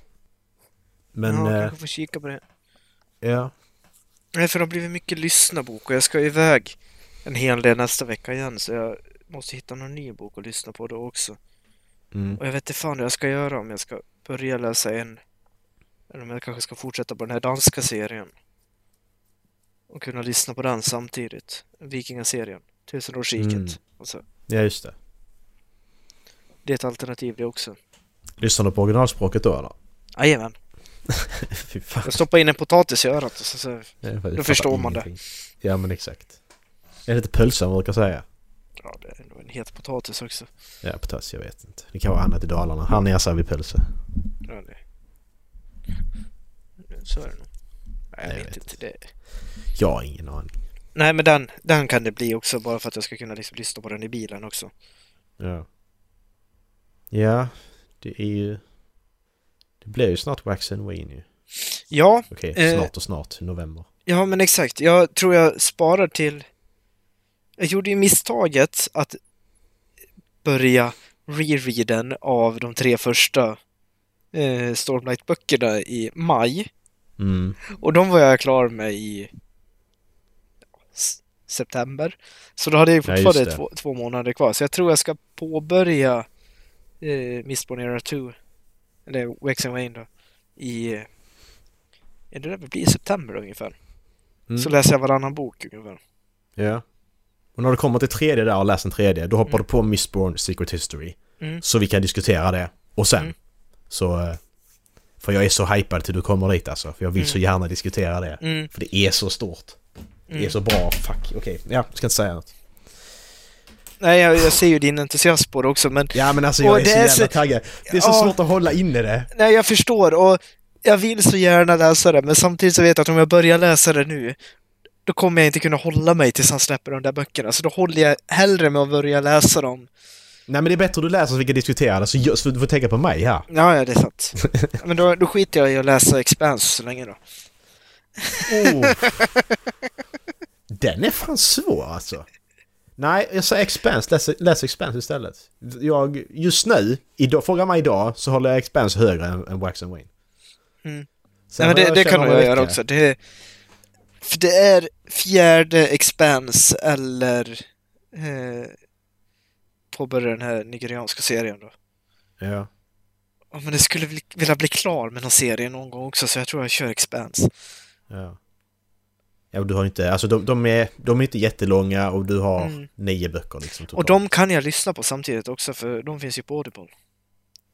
Speaker 2: Men...
Speaker 1: ja,
Speaker 2: Ja. Eh,
Speaker 1: kanske får kika på det.
Speaker 2: ja.
Speaker 1: Nej, för det har blivit mycket lyssnarbok och jag ska iväg en hel del nästa vecka igen så jag måste hitta någon ny bok att lyssna på då också.
Speaker 2: Mm.
Speaker 1: Och jag vet inte fan vad jag ska göra om jag ska börja läsa en eller om jag kanske ska fortsätta på den här danska serien. och kunna lyssna på den samtidigt. Vikingaserien, Tusenårsriket.
Speaker 2: Mm.
Speaker 1: Alltså,
Speaker 2: Ja, just det.
Speaker 1: det är ett alternativ det också.
Speaker 2: Lyssnar du på originalspråket då eller?
Speaker 1: Jajamän,
Speaker 2: Fy fan.
Speaker 1: jag stoppar in en potatis i örat och så, så
Speaker 2: Jag fattar
Speaker 1: förstår man det.
Speaker 2: ingenting. Ja, men exakt. Det är lite pölsa man brukar säga.
Speaker 1: ja, det är nog en het potatis också.
Speaker 2: Ja, potatis, jag vet inte. Det kan vara annat i Dalarna. Han är vid pölsa.
Speaker 1: Ja, det. Så är det nog. Nej, jag
Speaker 2: Jag
Speaker 1: vet,
Speaker 2: vet
Speaker 1: inte. Det...
Speaker 2: Jag har ingen aning.
Speaker 1: Nej, men den, den kan det bli också bara för att jag ska kunna liksom lyssna på den i bilen också.
Speaker 2: Ja. Ja, det är ju... Det blir ju snart Wax and Ween ju.
Speaker 1: Ja,
Speaker 2: Okej,
Speaker 1: Eh.
Speaker 2: snart och snart. November.
Speaker 1: Ja, men exakt. Jag tror jag sparar till... Jag gjorde ju misstaget att börja rereaden av de tre första eh, Stormlight-böckerna i maj.
Speaker 2: Mm.
Speaker 1: Och de var jag klar med i s- september. Så då hade jag ju
Speaker 2: Ja, just
Speaker 1: fortfarande
Speaker 2: det.
Speaker 1: två, två månader kvar. Så jag tror jag ska påbörja eh, Mistborn Era 2, eller Wax and Wayne då, i... Ja, det där blir i september ungefär.
Speaker 2: Mm.
Speaker 1: Så läser jag varannan bok ungefär.
Speaker 2: Ja. Och när du kommer till tredje där och läser den tredje, då hoppar
Speaker 1: Mm.
Speaker 2: du på Mistborn Secret History.
Speaker 1: Mm.
Speaker 2: Så vi kan diskutera det. Och sen.
Speaker 1: Mm.
Speaker 2: Så... eh, För jag är så hypad till du kommer dit alltså. För jag vill
Speaker 1: Mm.
Speaker 2: så gärna diskutera det.
Speaker 1: Mm,
Speaker 2: För det är så stort. Det är
Speaker 1: mm.
Speaker 2: så bra. Fuck. Okej. Ja, ska inte säga något.
Speaker 1: Nej, jag, jag ser ju din entusiasm på det också, men
Speaker 2: Ja men alltså
Speaker 1: Och
Speaker 2: jag är,
Speaker 1: det
Speaker 2: så
Speaker 1: är
Speaker 2: jävla
Speaker 1: så-
Speaker 2: taggad. Det är så
Speaker 1: Ja.
Speaker 2: svårt att hålla inne det.
Speaker 1: nej, jag förstår och jag vill så gärna läsa det, men samtidigt så vet jag att om jag börjar läsa det nu, då kommer jag inte kunna hålla mig tills han släpper de där böckerna. Så då håller jag hellre med att börja läsa dem.
Speaker 2: Nej men det är bättre du läser så vi kan diskutera det. Så jag, så du får tänka på mig här.
Speaker 1: Ja, ja, det är sant. Men då, då skiter jag i att läsa Expanse så länge då.
Speaker 2: Oh. Den är fan svår alltså. Nej, jag säger Expense. Läs, läs Expense istället. Jag, just nu, idag, fråga mig idag, så håller jag Expense högre än, än Wax and Wayne.
Speaker 1: Mm.
Speaker 2: Sen
Speaker 1: Nej, men
Speaker 2: får
Speaker 1: det, det kan
Speaker 2: känna
Speaker 1: nog
Speaker 2: om
Speaker 1: jag
Speaker 2: en
Speaker 1: göra
Speaker 2: vecka.
Speaker 1: också. Det, för det är fjärde Expanse eller eh, påbörja den här nigerianska serien då.
Speaker 2: Ja.
Speaker 1: Ja, men jag skulle vil- vilja bli klar med någon serie någon gång också, så jag tror jag kör Expanse.
Speaker 2: Ja. Ja, och du har ju inte, alltså de, de, är, de är inte jättelånga och du har
Speaker 1: Mm.
Speaker 2: nio böcker liksom
Speaker 1: Och de kan jag lyssna på samtidigt också, för de finns ju på Audible.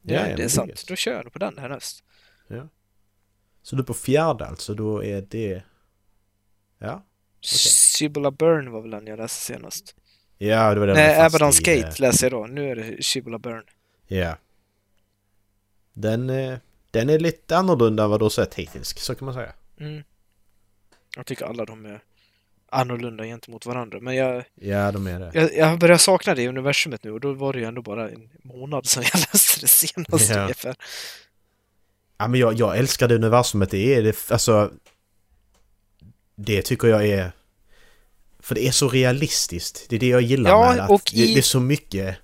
Speaker 1: Ja,
Speaker 2: men
Speaker 1: det är
Speaker 2: är
Speaker 1: sant.
Speaker 2: gött.
Speaker 1: Då kör jag nog på den härnäst.
Speaker 2: Så du är på fjärde alltså, då är det... Ja?
Speaker 1: Sibylla Byrne var väl den jag läste senast.
Speaker 2: Ja, det var den
Speaker 1: Nej,
Speaker 2: jag fast
Speaker 1: Abaddon's
Speaker 2: i, eh,
Speaker 1: Gate läser jag då. Nu är det Sibylla Byrne.
Speaker 2: Ja. Den, eh, den är lite annorlunda än vad du har sett hittills, så kan man säga.
Speaker 1: Mm. Jag tycker alla de är annorlunda gentemot varandra, men jag,
Speaker 2: Ja, de är det.
Speaker 1: jag, jag börjar sakna det i universumet nu och då var det ju ändå bara en månad sedan jag läste det senast
Speaker 2: Ja.
Speaker 1: ungefär.
Speaker 2: Ja, men jag, jag älskar det universumet. Det är det, alltså... Det tycker jag är... För det är så realistiskt. Det är det jag gillar
Speaker 1: Ja,
Speaker 2: med att
Speaker 1: och
Speaker 2: det,
Speaker 1: i-
Speaker 2: det är så mycket...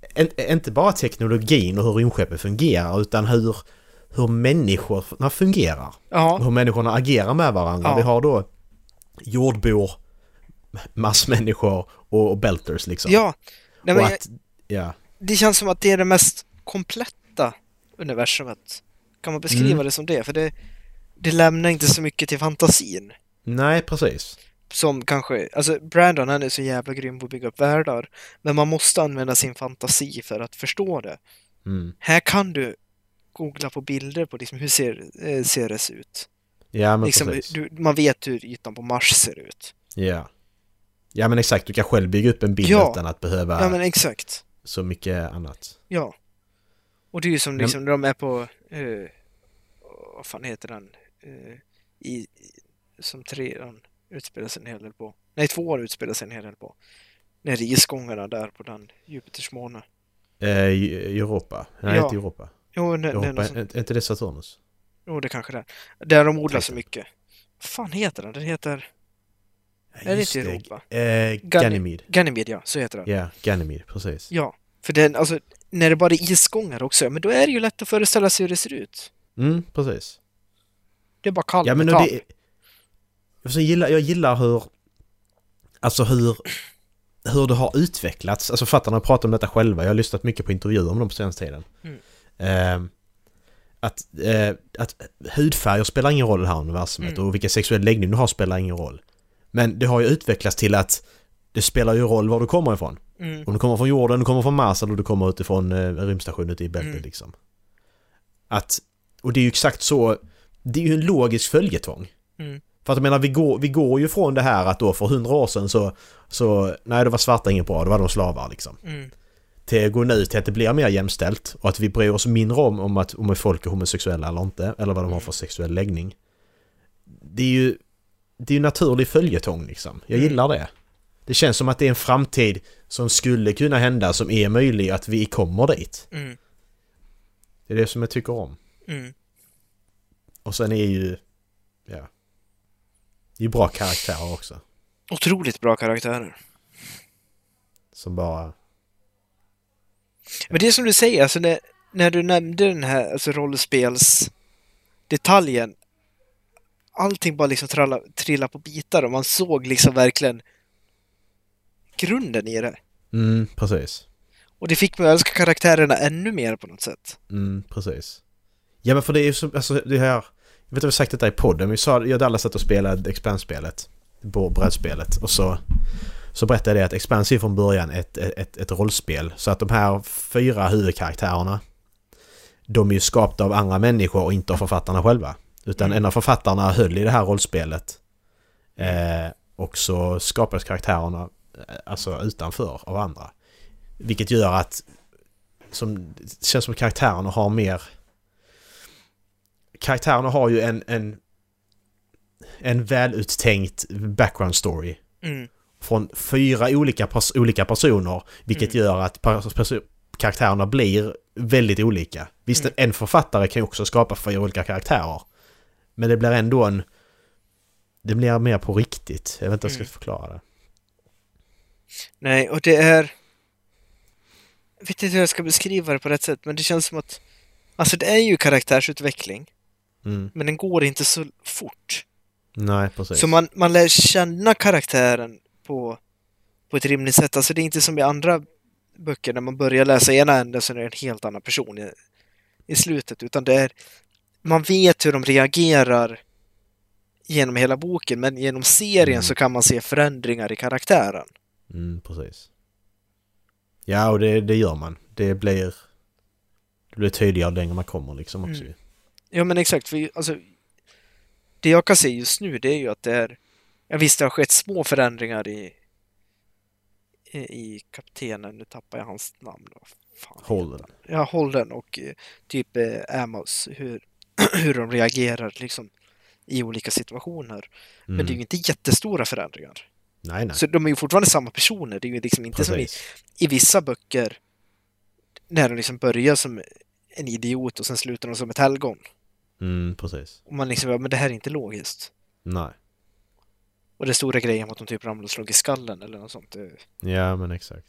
Speaker 2: En, inte bara teknologin och hur rymdskeppet fungerar, utan hur, hur människorna fungerar.
Speaker 1: Ja,
Speaker 2: hur människorna agerar med varandra.
Speaker 1: Ja.
Speaker 2: Vi har då jordbor, massmänniskor och, och belters liksom.
Speaker 1: ja. Nej, men
Speaker 2: och
Speaker 1: jag-
Speaker 2: att, ja.
Speaker 1: det känns som att det är det mest kompletta universumet. Kan man beskriva
Speaker 2: Mm.
Speaker 1: det som det? För det, det lämnar inte så mycket till fantasin.
Speaker 2: Nej, precis.
Speaker 1: Som kanske, alltså Brandon han är så jävla grym på att bygga upp världar. Men man måste använda sin fantasi för att förstå det.
Speaker 2: Mm.
Speaker 1: Här kan du googla på bilder på liksom hur ser, eh, ser det ut.
Speaker 2: Ja, men
Speaker 1: Liksom,
Speaker 2: precis.
Speaker 1: du, man vet hur ytan på Mars ser ut.
Speaker 2: Ja. ja, men exakt. Du kan själv bygga upp en bild
Speaker 1: Ja.
Speaker 2: utan att behöva
Speaker 1: Ja men exakt.
Speaker 2: så mycket annat.
Speaker 1: Ja. Och det är ju som
Speaker 2: Men-
Speaker 1: liksom när de är på, eh, vad fan heter den, eh, i, i, som trean utspelar sig en hel del på. Nej, tvåan utspelar sig en hel del på. När isgångarna där på den Jupiters måne.
Speaker 2: Eh, Eu- Europa. Nej,
Speaker 1: Ja.
Speaker 2: inte Europa.
Speaker 1: Jo, nej, nej,
Speaker 2: Europa.
Speaker 1: något sånt.
Speaker 2: Är inte det Saturnus?
Speaker 1: jo, det kanske det är. Där de odlar så
Speaker 2: Titan.
Speaker 1: mycket. Vad fan heter den? Den heter...
Speaker 2: Ja,
Speaker 1: är det
Speaker 2: just
Speaker 1: inte Europa?
Speaker 2: Eh,
Speaker 1: Gany-
Speaker 2: Ganymede.
Speaker 1: Ganymede, ja. Så heter den.
Speaker 2: Ja, Ganymede. Precis.
Speaker 1: Ja. För den, alltså, när det bara är isgångar också, ja, men då är det ju lätt att föreställa sig hur det ser ut.
Speaker 2: Mm, precis.
Speaker 1: Det är bara kallt
Speaker 2: Ja men och
Speaker 1: metall.
Speaker 2: det... alltså, Jag, gillar, jag gillar hur... Alltså hur... Hur det har utvecklats. Alltså fattarna pratar om detta själva. Jag har lyssnat mycket på intervjuer om dem på senaste tiden.
Speaker 1: Mm.
Speaker 2: Ehm, att, eh, att hudfärger spelar ingen roll i det här universumet och vilken sexuell läggning du har spelar ingen roll. Men det har ju utvecklats till att det spelar ju roll var du kommer ifrån.
Speaker 1: Mm.
Speaker 2: Om du kommer från jorden, du kommer från Mars eller du kommer utifrån eh, rymdstationen ute i bältet
Speaker 1: Mm.
Speaker 2: liksom. Att, och det är ju exakt så, det är ju en logisk följetong.
Speaker 1: Mm.
Speaker 2: För att jag menar, vi går, vi går ju från det här att då för hundra år sedan så, så, nej då var svarta inget bra, då var de slavar liksom.
Speaker 1: Mm.
Speaker 2: Till att gå nu till att det blir mer jämställt och att vi bryr oss mindre om, om att om folk är homosexuella eller inte, eller vad de har för sexuell läggning. Det är ju, det är ju naturlig följetong liksom. Jag
Speaker 1: Mm.
Speaker 2: gillar det. Det känns som att det är en framtid som skulle kunna hända, som är möjlig, att vi kommer dit.
Speaker 1: Mm.
Speaker 2: Det är det som jag tycker om.
Speaker 1: Mm.
Speaker 2: Och sen är ju, ja. Det är ju bra karaktärer också.
Speaker 1: Otroligt bra karaktärer.
Speaker 2: Som bara,
Speaker 1: Men det är som du säger, alltså när, när du nämnde den här alltså rollspelsdetaljen. Allting bara liksom tralla, trillade på bitar och man såg liksom verkligen grunden i det.
Speaker 2: mm, precis.
Speaker 1: Och det fick mig att älska karaktärerna ännu mer på något sätt.
Speaker 2: Mm, precis. Ja men för det är ju så, alltså det här, jag vet inte om jag sagt detta i podden, men vi sa, jag och Dallas satt och spelade Expanse-spelet, på brädspelet, och så, så berättade jag det att Expanse är från början ett, ett, ett rollspel, så att de här fyra huvudkaraktärerna, de är ju skapta av andra människor och inte av författarna själva. Utan
Speaker 1: Mm.
Speaker 2: en av författarna höll i det här rollspelet, eh, och så skapades karaktärerna eh, alltså utanför av andra. Vilket gör att som det känns som karaktärerna har mer... Karaktärerna har ju en, en, en väluttänkt background story
Speaker 1: Mm.
Speaker 2: från fyra olika, pers- olika personer, vilket
Speaker 1: Mm.
Speaker 2: gör att pers- perso- karaktärerna blir väldigt olika. Visst,
Speaker 1: Mm.
Speaker 2: en författare kan ju också skapa fyra olika karaktärer, men det blir ändå en... Det blir mer på riktigt. Jag vet inte hur jag
Speaker 1: Mm.
Speaker 2: ska förklara det.
Speaker 1: Nej, och det är... Jag vet inte hur jag ska beskriva det på rätt sätt, men det känns som att... Alltså det är ju karaktärsutveckling,
Speaker 2: Mm.
Speaker 1: men den går inte så fort.
Speaker 2: Nej, precis.
Speaker 1: Så man, man lär känna karaktären på, på ett rimligt sätt. Alltså det är inte som i andra böcker när man börjar läsa ena änden så är det en helt annan person i, i slutet. Utan det är, man vet hur de reagerar genom hela boken, men genom serien
Speaker 2: Mm.
Speaker 1: så kan man se förändringar i karaktären.
Speaker 2: Mm, precis. Ja, och det, det gör man. Det blir... Det blir tydligare ju längre man kommer liksom också
Speaker 1: Mm.
Speaker 2: ju.
Speaker 1: Ja men exakt, för ju- alltså, det jag kan se just nu det är ju att det är, ja, visst det har skett små förändringar i, i, i kaptenen, nu tappar jag hans namn. Vad fan heter
Speaker 2: Holden.
Speaker 1: han? Ja, Holden och eh, typ eh, Amos, hur, hur de reagerar liksom i olika situationer. Men det är ju
Speaker 2: Mm.
Speaker 1: inte jättestora förändringar.
Speaker 2: Nej, nej.
Speaker 1: Så de är ju fortfarande samma personer, det är ju liksom inte som i,
Speaker 2: Precis.
Speaker 1: i vissa böcker när de liksom börjar som en idiot och sen slutar de som ett helgon.
Speaker 2: Mm, precis.
Speaker 1: Och man liksom, bara, men det här är inte logiskt.
Speaker 2: Nej.
Speaker 1: Och det stora grejen var att de typ ramlade och slog i skallen eller något sånt. Eh, Det-
Speaker 2: Ja, men exakt.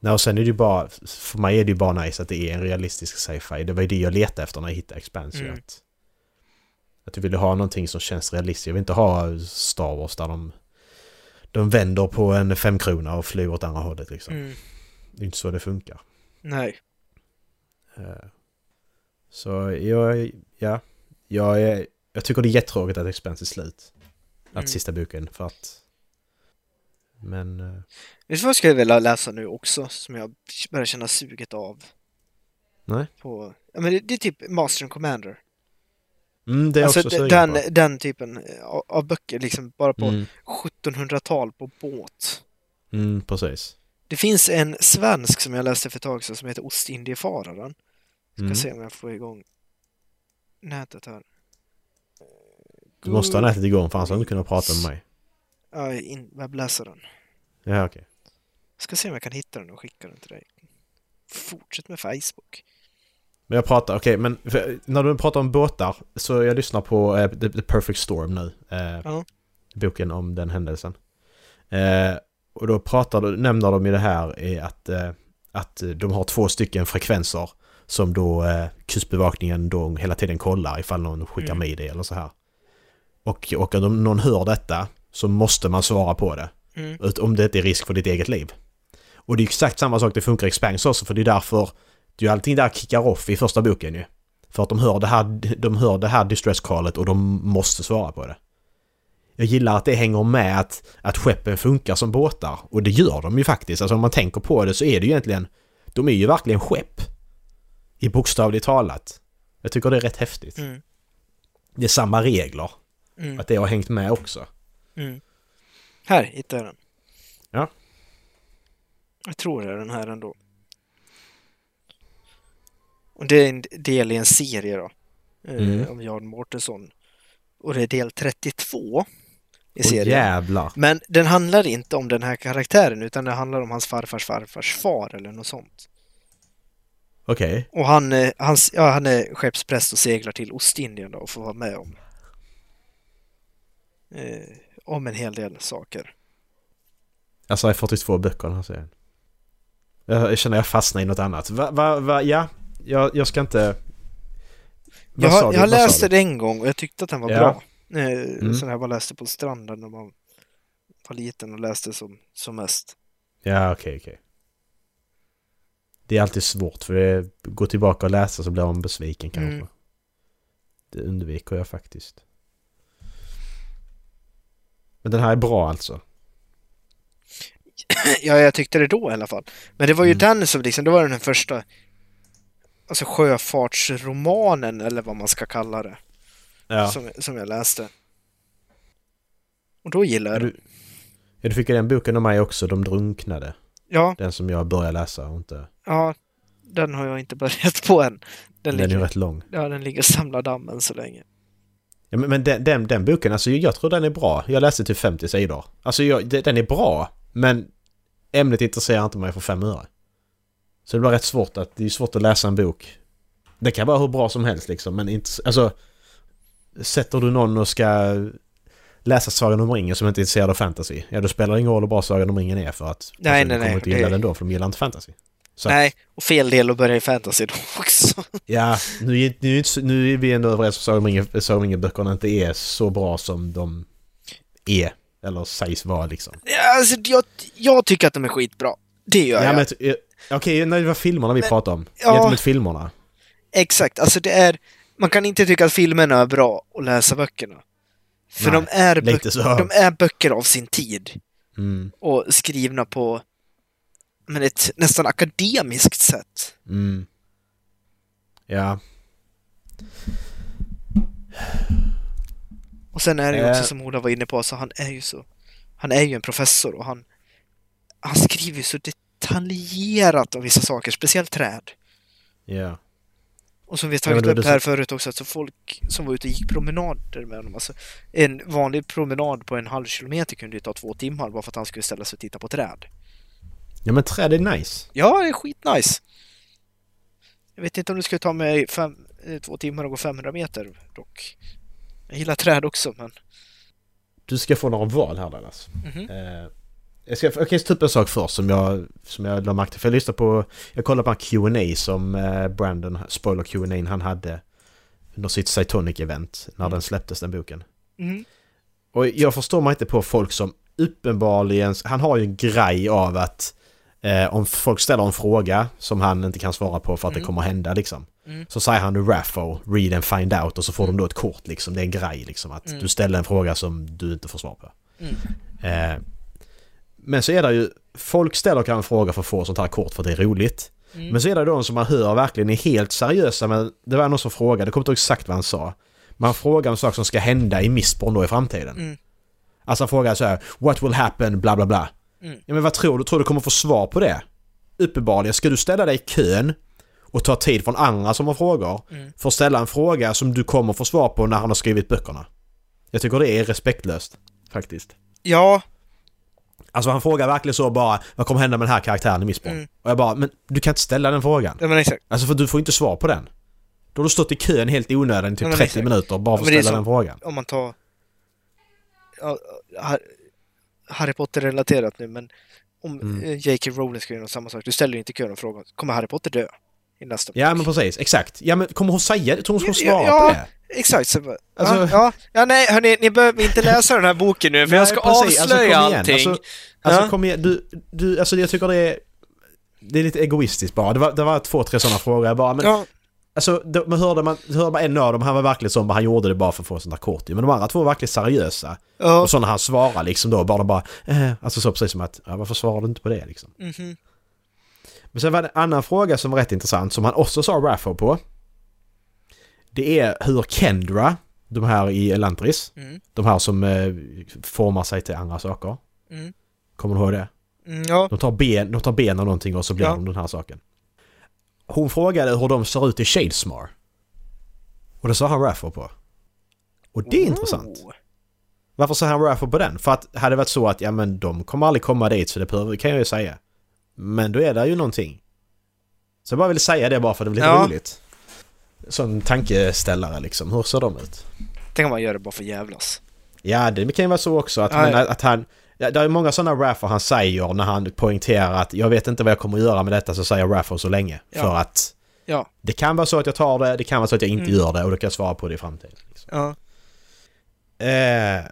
Speaker 2: Nej, och sen är det ju bara... För mig är det ju bara nice att det är en realistisk sci-fi. Det var ju det jag letade efter när jag hittade Expanse.
Speaker 1: Mm.
Speaker 2: Att, att jag ville ha någonting som känns realistiskt. Jag vill inte ha Star Wars där de... De vänder på en femkrona och flyr åt andra hållet liksom.
Speaker 1: Mm.
Speaker 2: Det är inte så det funkar.
Speaker 1: Nej.
Speaker 2: Eh, Så jag, ja, jag, är- jag tycker det är jättetråkigt att Expense är slut. Att
Speaker 1: Mm.
Speaker 2: sista boken, för att... Men... eh,
Speaker 1: Vet du vad jag skulle vilja läsa nu också som jag börjar känna suget av?
Speaker 2: Nej.
Speaker 1: På, ja, men det, det är typ Master and Commander.
Speaker 2: Mm, det är
Speaker 1: alltså
Speaker 2: också
Speaker 1: d-
Speaker 2: sugen
Speaker 1: den,
Speaker 2: på.
Speaker 1: den typen eh, av, av böcker, liksom bara på
Speaker 2: Mm,
Speaker 1: 1700-tal på båt.
Speaker 2: mm, precis.
Speaker 1: Det finns en svensk som jag läste för ett tag sedan som heter Ostindiefararen. Ska
Speaker 2: Mm.
Speaker 1: se om jag får igång nätet här.
Speaker 2: Du måste ha nätet igång för annars hade du inte kunnat prata med mig.
Speaker 1: Ja, in, webbläsaren.
Speaker 2: Ja, okej.
Speaker 1: Ska se om jag kan hitta den och skicka den till dig. Fortsätt med Facebook.
Speaker 2: Men jag pratar, okej, men för, när du pratar om båtar så jag lyssnar på eh, The, The Perfect Storm nu. Eh,
Speaker 1: Ja.
Speaker 2: Boken om den händelsen. Eh, och då pratar du, nämner de ju det här i att, eh, att de har två stycken frekvenser som då eh, kustbevakningen då hela tiden kollar ifall någon skickar
Speaker 1: Mm.
Speaker 2: med det eller så här. Och, och om någon hör detta så måste man svara på det.
Speaker 1: Mm.
Speaker 2: Ut- Om det inte är risk för ditt eget liv. Och det är ju exakt samma sak det funkar i Expanse också för det är därför det är ju allting där kickar off i första boken ju. För att de hör det här, de hör det här distress-callet och de måste svara på det. Jag gillar att det hänger med att, att skeppen funkar som båtar. Och det gör de ju faktiskt. Alltså om man tänker på det så är det ju egentligen... De är ju verkligen skepp. I bokstavligt talat. Jag tycker det är rätt häftigt.
Speaker 1: Mm.
Speaker 2: Det är samma regler.
Speaker 1: Mm.
Speaker 2: Att det har hängt med också.
Speaker 1: Mm. Här hittar jag den.
Speaker 2: Ja.
Speaker 1: Jag tror det är den här ändå. Och det är en del i en serie då.
Speaker 2: Mm.
Speaker 1: Eh, om Jan Mårtensson. Och det är del 32 i
Speaker 2: Och
Speaker 1: serien.
Speaker 2: jävlar.
Speaker 1: Men den handlar inte om den här karaktären utan det handlar om hans farfars farfars far eller något sånt.
Speaker 2: Okej.
Speaker 1: Och han, eh, hans, ja, han är skeppspräst och seglar till Ostindien då och får vara med om, eh, om en hel del saker.
Speaker 2: Alltså det är 42 böcker den här serien. Jag jag känner jag fastnar i något annat. Va, va, va, ja. Jag, jag ska inte... Vad
Speaker 1: Jag,
Speaker 2: sa
Speaker 1: har-
Speaker 2: du?
Speaker 1: jag
Speaker 2: Vad sa
Speaker 1: läste
Speaker 2: du?
Speaker 1: det en gång och jag tyckte att den var
Speaker 2: Ja.
Speaker 1: bra. Eh,
Speaker 2: Mm.
Speaker 1: Sen har jag bara läste på stranden när man var liten och läste som, som mest.
Speaker 2: Ja, okej, okej. Det är alltid svårt för det gå tillbaka och läsa så blir man besviken kanske.
Speaker 1: Mm.
Speaker 2: Det undviker jag faktiskt. Men den här är bra alltså.
Speaker 1: Eh, Ja, jag tyckte det då i alla fall. Men det var ju
Speaker 2: Mm.
Speaker 1: den som liksom, det var den första alltså sjöfartsromanen eller vad man ska kalla det.
Speaker 2: Ja.
Speaker 1: som, som jag läste. Och då gillade jag
Speaker 2: Du-
Speaker 1: den.
Speaker 2: ja, du fick ju den boken av mig också, De drunknade.
Speaker 1: Ja,
Speaker 2: Den som jag började läsa och inte...
Speaker 1: ja, den har jag inte börjat på än. Den,
Speaker 2: Den, är
Speaker 1: ligger,
Speaker 2: ju rätt lång.
Speaker 1: ja, den ligger och samlar dammen så länge.
Speaker 2: Ja, men men den, den, den boken, alltså jag tror den är bra. Jag läste typ 50 sidor. Alltså jag, de- den är bra, men ämnet intresserar inte mig för fem öre. Så det blir rätt svårt att, det är svårt att läsa en bok. Det kan vara hur bra som helst liksom, men inte, alltså... Sätter du någon och ska läsa Sagan om ringen som inte är intresserad av fantasy, ja då spelar det ingen roll hur bra Sagan om ringen är för att...
Speaker 1: Nej, nej,
Speaker 2: alltså, de kommer
Speaker 1: nej,
Speaker 2: inte gilla
Speaker 1: det-
Speaker 2: den då, för de gillar inte fantasy. Så att-
Speaker 1: Nej, och fel del att börja i fantasy då också.
Speaker 2: Ja, nu, är- nu, är inte så- nu är vi ändå överens om Sagan om ringen- Sagan om ringen-böckerna inte är så bra som de är. Eller sägs vara liksom.
Speaker 1: Ja, alltså, jag, jag tycker att de är skitbra. Det gör
Speaker 2: Ja,
Speaker 1: jag.
Speaker 2: men jag- jag- Okej, nej, det var filmerna vi pratade om.
Speaker 1: ja.
Speaker 2: Gentemot filmerna.
Speaker 1: Exakt, alltså det är... Man kan inte tycka att filmerna är bra och läsa böckerna. För
Speaker 2: Nej,
Speaker 1: de är, böcker,
Speaker 2: Lite så.
Speaker 1: de är böcker av sin tid
Speaker 2: Mm,
Speaker 1: och skrivna på men ett nästan akademiskt sätt.
Speaker 2: mm. Ja,
Speaker 1: Och sen är det ju också
Speaker 2: Eh.
Speaker 1: som Ola var inne på, så han är ju så... Han är ju en professor och han... Han skriver ju så detaljerat om vissa saker, speciellt träd.
Speaker 2: ja.
Speaker 1: Och som vi har
Speaker 2: Ja, men
Speaker 1: tagit
Speaker 2: då är
Speaker 1: upp
Speaker 2: det
Speaker 1: här
Speaker 2: så-
Speaker 1: förut också, alltså folk som var ute och gick promenader med honom. Alltså, en vanlig promenad på en halv kilometer kunde ju ta två timmar bara för att han skulle ställa sig och titta på träd.
Speaker 2: Ja men träd är nice.
Speaker 1: Ja, det är skitnice! Jag vet inte om det skulle ta mig fem, eh, två timmar att gå 500 meter dock. Jag gillar träd också, men...
Speaker 2: Du ska få några val här Dallas.
Speaker 1: Mhm.
Speaker 2: Eh, jag ska jag kan ta upp en sak först som jag, som jag la märke till. För jag lyssnade på, jag kollade på en Q&A som eh, Brandon, spoiler Q&A han hade under sitt Cytonic-event när
Speaker 1: Mm.
Speaker 2: den släpptes den boken.
Speaker 1: Mm.
Speaker 2: Och jag förstår mig inte på folk som uppenbarligen, han har ju en grej av att eh, om folk ställer en fråga som han inte kan svara på för att det
Speaker 1: Mm.
Speaker 2: kommer hända liksom.
Speaker 1: Mm.
Speaker 2: Så säger han raffo, read and find out och så får de då ett kort liksom. Det är en grej liksom att
Speaker 1: Mm.
Speaker 2: du ställer en fråga som du inte får svar på.
Speaker 1: Mm.
Speaker 2: Eh, men så är det ju, folk ställer kanske en fråga för att få sånt här kort för att det är roligt.
Speaker 1: Mm.
Speaker 2: Men så är det de som man hör verkligen är helt seriösa men det var någon som frågade, jag kommer inte ihåg exakt vad han sa. Men han frågar om saker som ska hända i Missborn då i framtiden.
Speaker 1: Mm.
Speaker 2: Alltså han frågar så här, what will happen, bla bla bla.
Speaker 1: Mm.
Speaker 2: Ja men vad tror du, tror du kommer få svar på det? Uppenbarligen, ska du ställa dig i kön och ta tid från andra som har frågor
Speaker 1: Mm.
Speaker 2: för att ställa en fråga som du kommer få svar på när han har skrivit böckerna? Jag tycker det är respektlöst, faktiskt.
Speaker 1: Ja,
Speaker 2: Alltså han frågar verkligen så bara, vad kommer hända med den här karaktären i Missborn?
Speaker 1: Mm.
Speaker 2: Och jag bara, men du kan inte ställa den frågan.
Speaker 1: ja, men exakt.
Speaker 2: Alltså för du får inte svar på den. Då har du stått i kön helt i onödan i
Speaker 1: Ja,
Speaker 2: typ
Speaker 1: men
Speaker 2: 30
Speaker 1: exakt.
Speaker 2: minuter bara för
Speaker 1: men
Speaker 2: att
Speaker 1: det är
Speaker 2: ställa den
Speaker 1: så-
Speaker 2: frågan.
Speaker 1: om man tar ja, Har- Harry Potter-relaterat nu, men om
Speaker 2: Mm.
Speaker 1: eh, J.K. Rowling ska göra samma sak, du ställer ju inte kön och frågar kommer Harry Potter dö i nästa
Speaker 2: Ja men precis, exakt. Ja men kommer hon säga det? Tror hon ska
Speaker 1: Ja,
Speaker 2: svara
Speaker 1: ja.
Speaker 2: på det?
Speaker 1: Exakt, så bara,
Speaker 2: Alltså-
Speaker 1: ja, ja, ja, nej, hörni, ni behöver inte läsa den här boken nu, för jag ska
Speaker 2: Nej, precis. Alltså,
Speaker 1: avslöja
Speaker 2: kom igen.
Speaker 1: allting.
Speaker 2: Alltså, alltså
Speaker 1: Ja.
Speaker 2: kom igen. Du, du, alltså jag tycker det är... Det är lite egoistiskt bara. Det var, det var två, tre sådana frågor. Jag bara, men
Speaker 1: ja,
Speaker 2: Alltså, de- man hörde, man hörde bara en av dem, han var verkligen sån, bara han gjorde det bara för att få en sån där kort Men de andra två var verkligen seriösa.
Speaker 1: Ja.
Speaker 2: Och så när han svarar liksom då, bara de bara... Eh, alltså så precis som att, ja, varför svarar du inte på det liksom?
Speaker 1: Mhm.
Speaker 2: Men sen var det en annan fråga som var rätt intressant, som han också sa Raffo på. Det är hur Kendra, de här i Elantris,
Speaker 1: Mm.
Speaker 2: de här som eh, formar sig till andra saker.
Speaker 1: Mm.
Speaker 2: Kommer du ihåg det?
Speaker 1: Mm, ja.
Speaker 2: De tar ben, de tar ben av någonting och så blir
Speaker 1: Ja.
Speaker 2: de den här saken. Hon frågade hur de ser ut i Shadesmar. Och det sa han Raffo på. Och det är intressant.
Speaker 1: Oh.
Speaker 2: Varför sa han Raffo på den? För att hade det varit så att ja men de kommer aldrig komma dit så det behöver, kan jag ju säga. Men då är det ju någonting. Så jag bara ville säga det bara för att det blir lite
Speaker 1: Ja.
Speaker 2: roligt. Sån tankeställare liksom. Hur ser de ut?
Speaker 1: Tänk om man gör det bara för att jävlas.
Speaker 2: Ja, det kan ju vara så också att,
Speaker 1: Ja,
Speaker 2: men,
Speaker 1: ja.
Speaker 2: att han... Ja, det är många sådana Raffer han säger när han poängterar att jag vet inte vad jag kommer att göra med detta så säger jag Raffer så länge.
Speaker 1: Ja.
Speaker 2: För att
Speaker 1: Ja.
Speaker 2: det kan vara så att jag tar det, det kan vara så att jag inte
Speaker 1: Mm.
Speaker 2: gör det och då kan jag svara på det i framtiden. Liksom.
Speaker 1: Ja.
Speaker 2: Eh,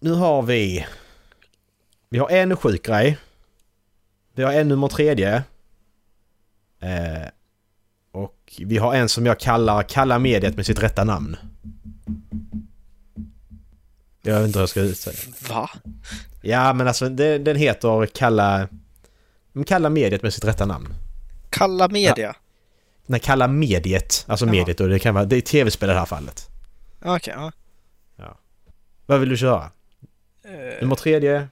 Speaker 2: nu har vi... Vi har en sjuk grej. Vi har en nummer tredje. Eh, och vi har en som jag kallar Kalla mediet med sitt rätta namn. Jag vet inte hur jag ska utsäga.
Speaker 1: Va?
Speaker 2: Ja, men alltså det, den heter Kalla... men Kalla mediet med sitt rätta namn.
Speaker 1: Kalla media?
Speaker 2: Nej, Kalla mediet. Alltså
Speaker 1: Jaha.
Speaker 2: mediet och det kan vara... Det är tv-spel i det här fallet.
Speaker 1: Ja. Okej, ja.
Speaker 2: Vad vill du köra?
Speaker 1: Eh,
Speaker 2: Nummer tredje?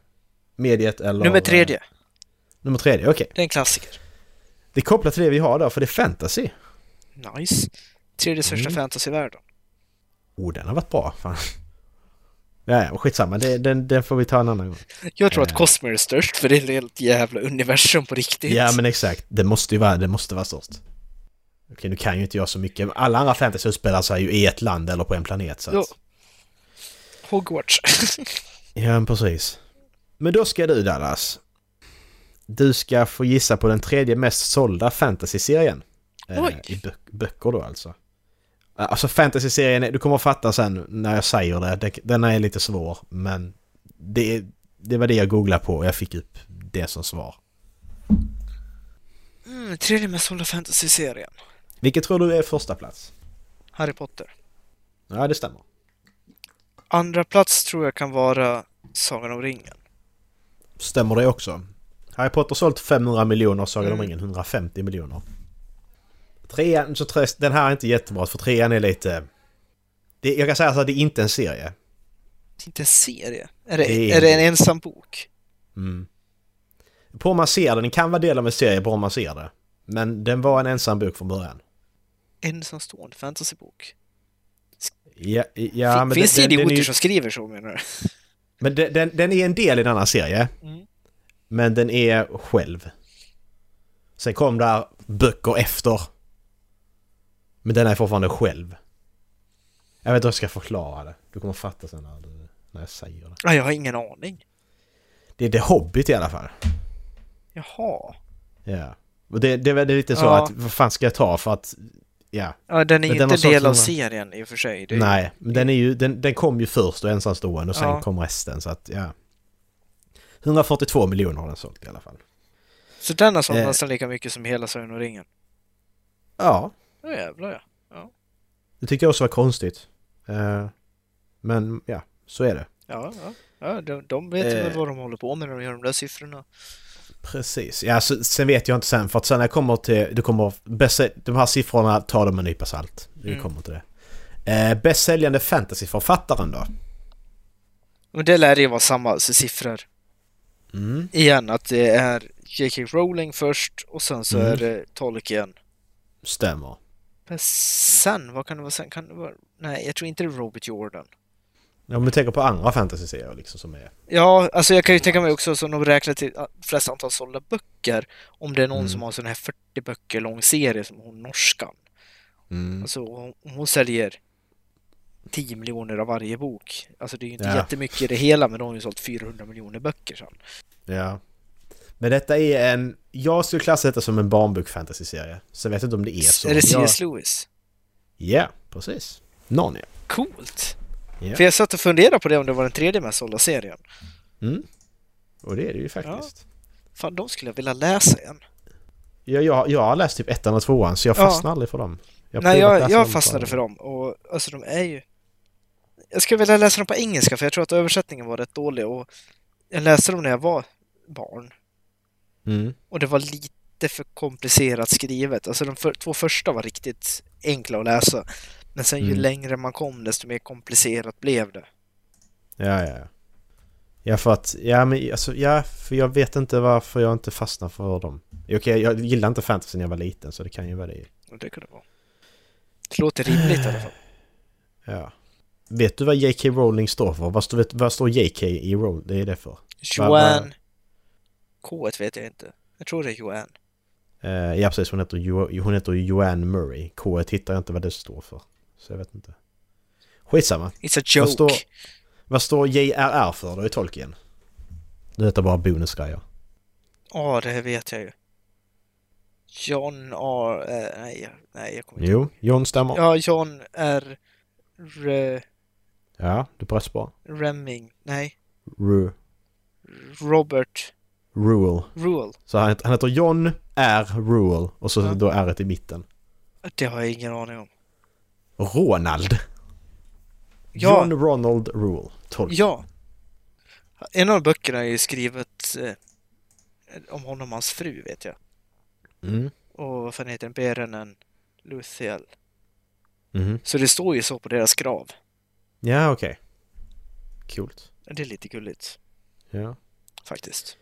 Speaker 2: Mediet eller...
Speaker 1: nummer tredje.
Speaker 2: Nummer tredje, okej.
Speaker 1: Det är en klassiker.
Speaker 2: Det är kopplat till det vi har då, för det är fantasy.
Speaker 1: Nice. Tredje största
Speaker 2: Mm.
Speaker 1: fantasyvärlden.
Speaker 2: Oh, den har varit bra. Fan. Ja, ja, skitsamma. Det, den, den får vi ta en annan gång.
Speaker 1: Jag tror att
Speaker 2: Eh.
Speaker 1: Cosmer är störst för det är ett helt jävla universum på riktigt.
Speaker 2: Ja, men exakt. Det måste ju vara, det måste vara störst. Okej, nu kan ju inte jag så mycket. Alla andra fantasy utspelar sig ju i ett land eller på en planet. Så
Speaker 1: Jo.
Speaker 2: att...
Speaker 1: Hogwarts.
Speaker 2: Ja, men precis. Men då ska du Dallas. Du ska få gissa på den tredje mest sålda fantasy-serien. Eh,
Speaker 1: Oj.
Speaker 2: I bö böcker då alltså. Eh, Alltså fantasy-serien, är- du kommer att fatta sen när jag säger det. det den är lite svår, men det, är- det var det jag googlade på och jag fick upp det som svar.
Speaker 1: Mm, tredje mest sålda fantasyserien.
Speaker 2: Vilket tror du är första plats?
Speaker 1: Harry Potter.
Speaker 2: Ja, det stämmer.
Speaker 1: Andra plats tror jag kan vara Sagan om ringen.
Speaker 2: Stämmer det också? Harry Potter har sålt 500 miljoner, Sagan om
Speaker 1: Mm.
Speaker 2: ringen 150 miljoner. Trean, så tröst, den här är inte jättebra för trean är lite... Det, jag kan säga så att det är inte en serie.
Speaker 1: Det är inte en serie. Är det,
Speaker 2: Det är-
Speaker 1: är det en ensam bok?
Speaker 2: Mm. På om man ser det, den kan vara del av en serie på om man ser det. Men den var en ensam bok från början.
Speaker 1: Ensamstående fantasybok?
Speaker 2: Ja, ja
Speaker 1: Fin-
Speaker 2: men,
Speaker 1: Finns
Speaker 2: den,
Speaker 1: det
Speaker 2: den, den,
Speaker 1: idioter
Speaker 2: är ju-
Speaker 1: som skriver så menar du?
Speaker 2: men den, den, den är en del i en annan serie.
Speaker 1: Mm.
Speaker 2: Men den är själv. Sen kom där böcker efter. Men den är fortfarande själv. Jag vet inte hur jag ska förklara det. Du kommer fatta sen när, du, när jag säger det.
Speaker 1: Ah, jag har ingen aning.
Speaker 2: Det är The Hobbit i alla fall.
Speaker 1: Jaha.
Speaker 2: Ja. Och det, det, är väl lite så
Speaker 1: Ja.
Speaker 2: att vad fan ska jag ta för att... Ja,
Speaker 1: Ja, den är
Speaker 2: Men
Speaker 1: ju
Speaker 2: den
Speaker 1: inte
Speaker 2: har
Speaker 1: del av
Speaker 2: sålt
Speaker 1: serien i och för sig. Det är ju-
Speaker 2: nej. Men den, är ju, den, den kom ju först och ensamstående och sen
Speaker 1: Ja.
Speaker 2: kom resten så att ja. 142 miljoner har den sålt i alla fall.
Speaker 1: Så den har sålt
Speaker 2: Eh.
Speaker 1: nästan lika mycket som hela Sagan om ringen.
Speaker 2: Ja,
Speaker 1: Ja jävlar ja.
Speaker 2: det tyckte jag också var konstigt. Eh, men ja, så är det.
Speaker 1: Ja, ja. ja de, de vet ju
Speaker 2: Eh.
Speaker 1: väl vad de håller på med när de gör de där siffrorna.
Speaker 2: Precis. Ja, så, sen vet jag inte sen, för att sen när jag kommer till... Du kommer, bäst, de här siffrorna tar de med en nypa salt. Vi
Speaker 1: Mm.
Speaker 2: kommer till det. Eh, bäst säljande fantasyförfattaren då?
Speaker 1: Men det lär ju vara samma så siffror.
Speaker 2: Mm.
Speaker 1: igen att det är J.K. Rowling först och sen så
Speaker 2: Mm.
Speaker 1: är det Tolkien.
Speaker 2: Stämmer.
Speaker 1: Men sen, vad kan det vara sen? Kan det vara... Nej, jag tror inte det är Robert Jordan.
Speaker 2: Ja, Om du tänker på andra fantasyserier liksom som är...
Speaker 1: Ja, alltså jag kan ju tänka mig också som de räknar till ah, flest antal sålda böcker om det är någon
Speaker 2: Mm.
Speaker 1: som har en sån här 40 böcker lång serie som hon norskan.
Speaker 2: Mm.
Speaker 1: Alltså hon, hon säljer 10 miljoner av varje bok. Alltså det är ju inte
Speaker 2: Ja.
Speaker 1: jättemycket i det hela men de har ju sålt 400 miljoner böcker sen.
Speaker 2: Ja. Men detta är en... Jag skulle klassa detta som en barnbok-fantasyserie. Så jag vet inte om det är så.
Speaker 1: är det
Speaker 2: Jag-
Speaker 1: C.S. Lewis?
Speaker 2: Ja, precis. Någon ja.
Speaker 1: Coolt!
Speaker 2: Ja.
Speaker 1: För jag satt och funderade på det om det var den tredje mest sålda serien.
Speaker 2: Mm. Och det är det ju faktiskt.
Speaker 1: Fan, de skulle jag vilja läsa igen.
Speaker 2: Ja. Jag, jag, har läst typ ettan och tvåan så jag
Speaker 1: Ja.
Speaker 2: fastnar aldrig för dem. Jag har
Speaker 1: Nej,
Speaker 2: provat
Speaker 1: jag,
Speaker 2: läsa
Speaker 1: jag
Speaker 2: dem
Speaker 1: fastnade
Speaker 2: bara.
Speaker 1: för dem och alltså de är ju... Jag skulle vilja läsa dem på engelska för jag tror att översättningen var rätt dålig och jag läste dem när jag var barn
Speaker 2: Mm.
Speaker 1: och det var lite för komplicerat skrivet. Alltså de för, två första var riktigt enkla att läsa men sen ju
Speaker 2: Mm.
Speaker 1: längre man kom desto mer komplicerat blev det.
Speaker 2: Ja, ja, ja. Ja, för att, ja men alltså, ja, för jag vet inte varför jag inte fastnar för dem. Okej, jag gillar inte fantasy när jag var liten så det kan ju vara det.
Speaker 1: Och det kunde vara. Det låter rimligt i alla fall.
Speaker 2: Ja. Vet du vad J.K. Rowling står för? Vad står, vet- vad står J.K. i Rowling? Det är det för? Va- va-
Speaker 1: Joanne... K vet jag inte. Jag tror det är Joanne.
Speaker 2: Eh, ja, precis. Hon heter, jo- hon heter Joanne Murray. K hittar jag inte vad det står för. Så jag vet inte. Skitsamma.
Speaker 1: It's a
Speaker 2: Vad
Speaker 1: joke.
Speaker 2: står, vad står J.R.R. för då i Tolkien? Nu heter bara bonusgrejer.
Speaker 1: Ja, det vet jag ju. John R... Eh, nej, jag- nej, jag kommer inte
Speaker 2: Jo, John stämmer. Ja,
Speaker 1: Ja, John R... Re,
Speaker 2: du pressar
Speaker 1: Remming. Nej,
Speaker 2: Ru.
Speaker 1: Robert
Speaker 2: Rule.
Speaker 1: Rule.
Speaker 2: Så han, han heter John R. Rule och så
Speaker 1: Ja.
Speaker 2: då R i mitten.
Speaker 1: Det har jag ingen aning om.
Speaker 2: Ronald.
Speaker 1: Ja.
Speaker 2: John Ronald Rule. Tolkien.
Speaker 1: Ja. En av böckerna är ju skrivet eh, om honom och hans fru, vet jag.
Speaker 2: Mm.
Speaker 1: Och vad fan heter den? Berenen Luthiel.
Speaker 2: Mhm.
Speaker 1: Så det står ju så på deras grav.
Speaker 2: Ja, okej. Coolt.
Speaker 1: Det är lite gulligt,
Speaker 2: Ja.
Speaker 1: faktiskt.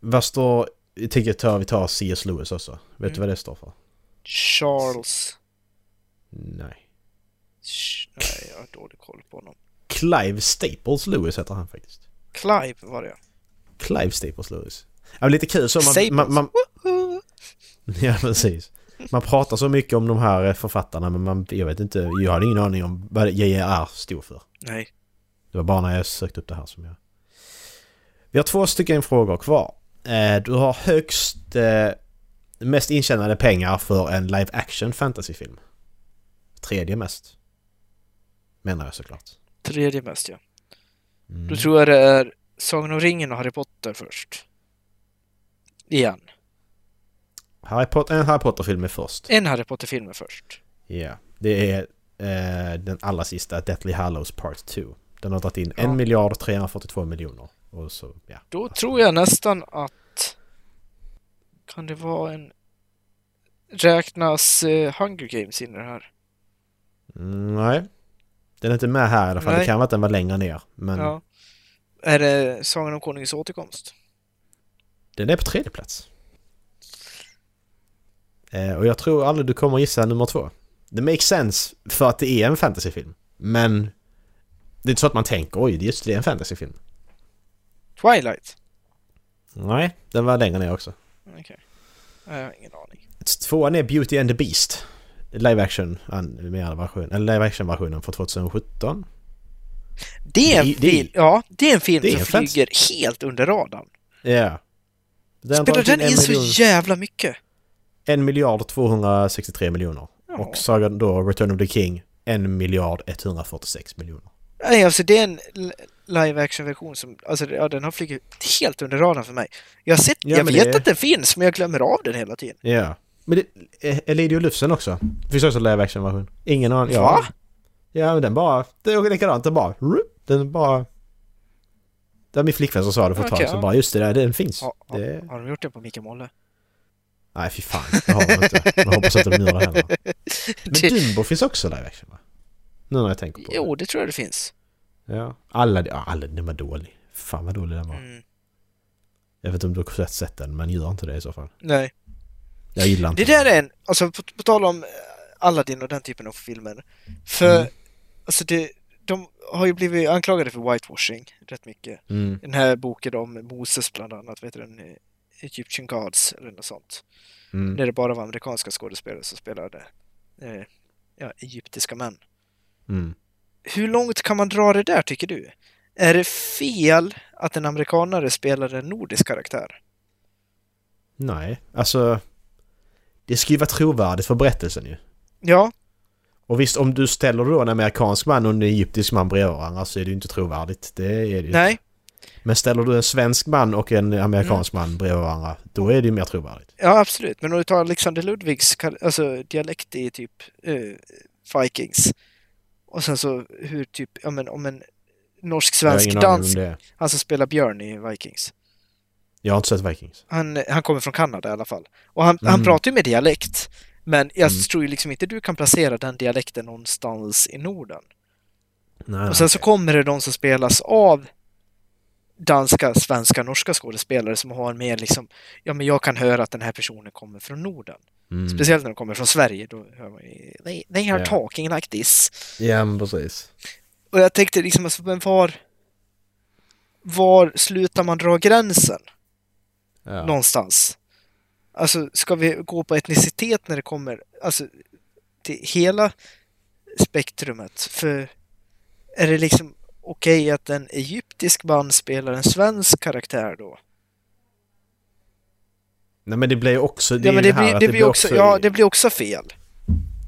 Speaker 2: Vad står... Jag tänker ta, vi tar C.S. Lewis också. Vet du
Speaker 1: Mm.
Speaker 2: vad det står för?
Speaker 1: Charles...
Speaker 2: Nej.
Speaker 1: Sh, nej, jag har dålig koll på honom.
Speaker 2: Clive Staples Lewis heter han faktiskt.
Speaker 1: Clive var det,
Speaker 2: Clive Staples Lewis. Ja, men lite kul så
Speaker 1: Staples.
Speaker 2: man, man, man...
Speaker 1: ja.
Speaker 2: Ja, precis. Man pratar så mycket om de här eh, författarna men man, jag vet inte, jag hade ingen aning om vad J.R.R. stod för.
Speaker 1: Nej.
Speaker 2: Det var bara när jag sökte upp det här som jag... Vi har två stycken frågor kvar. Eh, Du har högst... eh, Mest intjänade pengar för en live action fantasyfilm. Tredje mest. Menar jag såklart.
Speaker 1: Tredje mest, ja.
Speaker 2: Mm.
Speaker 1: Då tror jag det är Sagan om ringen och Harry Potter först. Igen.
Speaker 2: Harry Potter, en Harry Potter-film är först.
Speaker 1: En Harry Potter-film är först.
Speaker 2: Ja. Det är eh, den allra sista, Deathly Hallows Part 2. Den har dragit in
Speaker 1: Ja.
Speaker 2: 1 miljard 342 miljoner. Och så, ja.
Speaker 1: Då tror jag nästan att... Kan det vara en... Räknas eh, Hunger Games in i det här?
Speaker 2: Mm, nej. Den är inte med här i alla fall.
Speaker 1: Nej.
Speaker 2: Det kan vara att den var längre ner. Men
Speaker 1: Ja. Är det Sagan om Konungens återkomst?
Speaker 2: Den är på tredje plats. Eh, och jag tror aldrig du kommer gissa nummer två. Det makes sense för att det är en fantasyfilm. Men det är inte så att man tänker oj, det är just det, det är en fantasyfilm.
Speaker 1: Twilight?
Speaker 2: Nej, den var längre ner också.
Speaker 1: Okej. Nej, Jag har ingen aning.
Speaker 2: Tvåan är Beauty and the Beast. Live action animerad version, eller live action versionen från 2017.
Speaker 1: Det är en,
Speaker 2: Det är- det är-
Speaker 1: film, ja, det är en film
Speaker 2: det är en
Speaker 1: som
Speaker 2: fans-
Speaker 1: flyger helt under radarn.
Speaker 2: Ja. Den har
Speaker 1: Spelar
Speaker 2: dragit
Speaker 1: den
Speaker 2: en
Speaker 1: in så
Speaker 2: miljon-
Speaker 1: jävla mycket?
Speaker 2: en miljard 263 miljoner.
Speaker 1: Ja.
Speaker 2: Och Sagan då Return of the King en miljard 146 miljoner.
Speaker 1: Nej, alltså det är en l- live action-version som, alltså det- ja, den har flugit helt under radarn för mig. Jag, har sett,
Speaker 2: Ja,
Speaker 1: jag
Speaker 2: men
Speaker 1: vet
Speaker 2: det-
Speaker 1: att den finns, men jag glömmer av den hela tiden.
Speaker 2: Ja. Men det, eh, Elidio Lufsen också. Finns också live action version. Ingen aning.
Speaker 1: Va?
Speaker 2: Ja. ja, men den bara... Det är likadant. Den bara... rup, Den bara... Det var min flickvän som sa det för ett
Speaker 1: Okej,
Speaker 2: tag
Speaker 1: ja.
Speaker 2: sedan. Bara just det, där, den finns.
Speaker 1: Ja, ja,
Speaker 2: Det...
Speaker 1: Har de gjort den på Mikael Molle?
Speaker 2: Nej, fy fan. Det har de inte. Jag hoppas inte de gör det heller. Men
Speaker 1: Det-
Speaker 2: Dumbo finns också live action va? Nu när jag tänker på det.
Speaker 1: Jo, det tror jag det finns.
Speaker 2: Ja. Alla, ja, alla, den var dålig. Fan vad dålig den var.
Speaker 1: Mm.
Speaker 2: Jag vet inte om du har sett- sett den, men gör inte det i så fall.
Speaker 1: Nej.
Speaker 2: Jag gillar inte
Speaker 1: Det där är en, alltså på, på tal om eh, Aladdin och den typen av filmer. För,
Speaker 2: Mm.
Speaker 1: alltså det, de har ju blivit anklagade för whitewashing rätt mycket.
Speaker 2: den. Mm.
Speaker 1: Den här boken om Moses bland annat, vad heter den? Eh, Egyptian Gods eller något sånt.
Speaker 2: Mm.
Speaker 1: När det bara var amerikanska skådespelare som spelade eh, ja, egyptiska män.
Speaker 2: Mm.
Speaker 1: Hur långt kan man dra det där tycker du? Är det fel att en amerikanare spelar en nordisk karaktär?
Speaker 2: Nej, alltså... Det ska ju vara trovärdigt för berättelsen ju.
Speaker 1: Ja,
Speaker 2: Och visst, om du ställer då en amerikansk man och en egyptisk man bredvid varandra så är det ju inte trovärdigt. Det är det ju.
Speaker 1: nej.
Speaker 2: Men ställer du en svensk man och en amerikansk
Speaker 1: Mm.
Speaker 2: man bredvid varandra, då är det ju mer trovärdigt.
Speaker 1: Ja, absolut. Men om du tar Alexander Ludvigs kal- alltså, dialekt i typ eh, Vikings och sen så hur typ, ja men om en
Speaker 2: Jag har ingen
Speaker 1: norsk-svensk
Speaker 2: aning om
Speaker 1: dansk,
Speaker 2: det är.
Speaker 1: han som spelar Björn i Vikings.
Speaker 2: Jag har inte sett Vikings.
Speaker 1: Han, han kommer från Kanada i alla fall. Och han, han
Speaker 2: Mm.
Speaker 1: pratar ju med dialekt. Men jag
Speaker 2: Mm.
Speaker 1: tror ju liksom inte du kan placera den dialekten någonstans i Norden.
Speaker 2: Nej,
Speaker 1: Och sen så kommer det de som spelas av danska, svenska, norska skådespelare som har en mer liksom, ja men jag kan höra att den här personen kommer från Norden.
Speaker 2: mm.
Speaker 1: Speciellt när de kommer från Sverige, då hör man ju they, they are
Speaker 2: Ja.
Speaker 1: talking like this.
Speaker 2: Ja, men precis.
Speaker 1: Och jag tänkte liksom, alltså, men var, var slutar man dra gränsen
Speaker 2: Ja.
Speaker 1: någonstans? Alltså, ska vi gå på etnicitet när det kommer, alltså, till hela spektrumet? För är det liksom okej att en egyptisk man spelar en svensk karaktär då?
Speaker 2: Nej, men det blir ju också... Det
Speaker 1: ja,
Speaker 2: är
Speaker 1: men
Speaker 2: ju
Speaker 1: det,
Speaker 2: det här
Speaker 1: blir,
Speaker 2: att
Speaker 1: det blir också, ja, det blir också fel.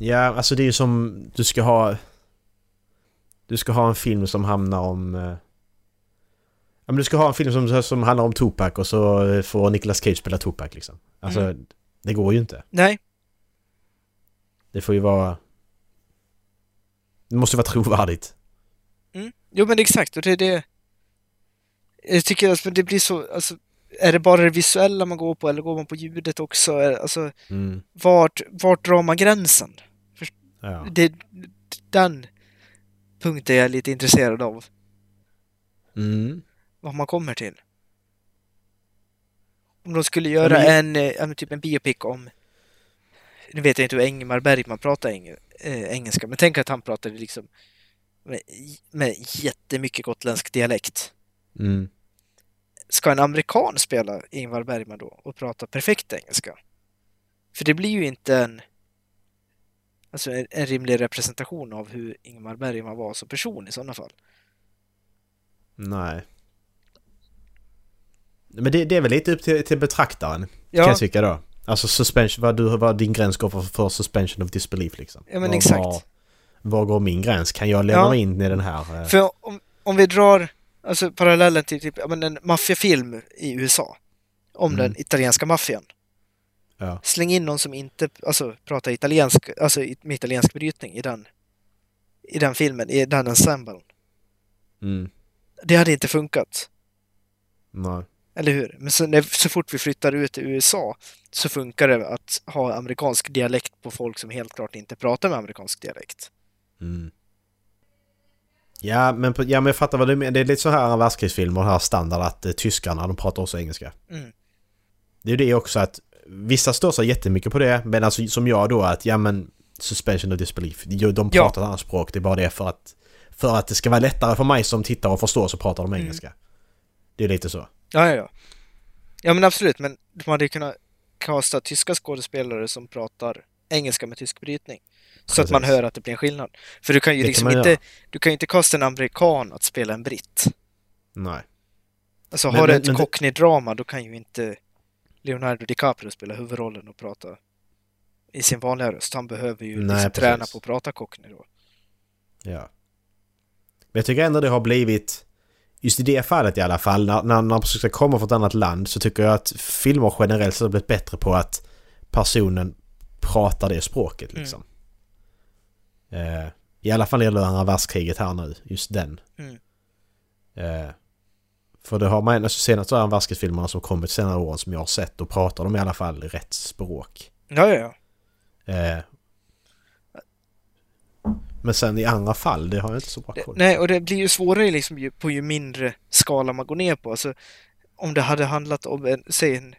Speaker 2: Ja, alltså det är ju som du ska ha... Du ska ha en film som hamnar om... eh, Ja, men du ska ha en film som, som handlar om Tupac och så eh, får Nicolas Cage spela Tupac liksom. Alltså,
Speaker 1: Mm.
Speaker 2: det går ju inte.
Speaker 1: Nej,
Speaker 2: Det får ju vara... Det måste ju vara trovärdigt.
Speaker 1: Mm. Jo men exakt, och det är det. Jag tycker att det blir så, alltså, är det bara det visuella man går på eller går man på ljudet också? Är- Alltså,
Speaker 2: Mm.
Speaker 1: vart, vart drar man gränsen?
Speaker 2: Ja.
Speaker 1: Det, den punkten är jag lite intresserad av,
Speaker 2: Mm.
Speaker 1: vad man kommer till. Om de skulle göra
Speaker 2: Ja,
Speaker 1: en, eh, ja, men typ en biopic om, nu vet jag inte hur Ingmar Bergman pratar eng, eh, engelska, men tänk att han pratade liksom med, med jättemycket gotländsk dialekt.
Speaker 2: Mm.
Speaker 1: ska en amerikan spela Ingvar Bergman då och prata perfekt engelska? För det blir ju inte en, alltså en, en rimlig representation av hur Ingvar Bergman var som person i sådana fall.
Speaker 2: Nej. Men det, det är väl lite upp till, till betraktaren, kan
Speaker 1: Ja,
Speaker 2: jag tycka då. Alltså suspension, vad, du, vad din gräns går för, för suspension of disbelief liksom.
Speaker 1: ja men
Speaker 2: Var-
Speaker 1: exakt.
Speaker 2: Var, var går min gräns? Kan jag lämna
Speaker 1: Ja.
Speaker 2: mig in i den här? eh,
Speaker 1: För om, om vi drar alltså, parallellen till typ, ja, men en maffiafilm i USA om
Speaker 2: Mm.
Speaker 1: den italienska maffian.
Speaker 2: Ja.
Speaker 1: Släng in någon som inte alltså, pratar italiensk, alltså i- med italiensk brytning i den, i den filmen, i den ensemblen.
Speaker 2: Mm.
Speaker 1: Det hade inte funkat.
Speaker 2: Nej.
Speaker 1: Eller hur? Men så, när, så fort vi flyttar ut till USA så funkar det att ha amerikansk dialekt på folk som helt klart inte pratar med amerikansk dialekt.
Speaker 2: Mm. Ja, men, på- ja, men jag fattar vad du menar. Det är lite så här världskrigsfilmer, den här standard att eh, tyskarna, de pratar också engelska.
Speaker 1: Mm.
Speaker 2: Det är ju det också att vissa stör sig jättemycket på det, men alltså som jag då att ja men suspension of disbelief, de de
Speaker 1: Ja.
Speaker 2: pratar ett annat språk, det är bara det för att för att det ska vara lättare för mig som tittar och förstår så pratar de
Speaker 1: Mm.
Speaker 2: engelska. Det är lite så.
Speaker 1: Ja, ja, ja. Ja, men absolut. Men de hade ju kunnat kasta tyska skådespelare som pratar engelska med tysk brytning. Så att man
Speaker 2: Precis.
Speaker 1: hör att det blir en skillnad. För du kan ju
Speaker 2: Det kan
Speaker 1: liksom
Speaker 2: man
Speaker 1: inte,
Speaker 2: göra.
Speaker 1: du kan ju inte kasta en amerikan att spela en britt.
Speaker 2: Nej.
Speaker 1: Alltså
Speaker 2: Men-
Speaker 1: har du
Speaker 2: men-
Speaker 1: ett
Speaker 2: men det-
Speaker 1: cockney-drama då kan ju inte Leonardo DiCaprio spela huvudrollen och prata i sin vanliga röst. Han behöver ju
Speaker 2: Nej,
Speaker 1: liksom träna
Speaker 2: precis.
Speaker 1: på att prata cockney då.
Speaker 2: Ja. Men jag tycker ändå det har blivit, just i det fallet i alla fall, när, när, när man ska komma från ett annat land så tycker jag att filmer generellt sett har blivit bättre på att personen pratar det språket liksom. Eh, I alla fall när det gäller andra världskriget här nu, just den.
Speaker 1: Mm.
Speaker 2: Eh, för det har man, alltså senast andra världskrigsfilmerna som kommit senare åren som jag har sett, då pratar de i alla fall rätt språk.
Speaker 1: Ja, ja, ja.
Speaker 2: Eh, men sen i andra fall, det har jag inte så bra
Speaker 1: Det,
Speaker 2: koll på.
Speaker 1: nej, och det blir ju svårare liksom ju, på ju mindre skala man går ner på. Alltså, om det hade handlat om en, säg en,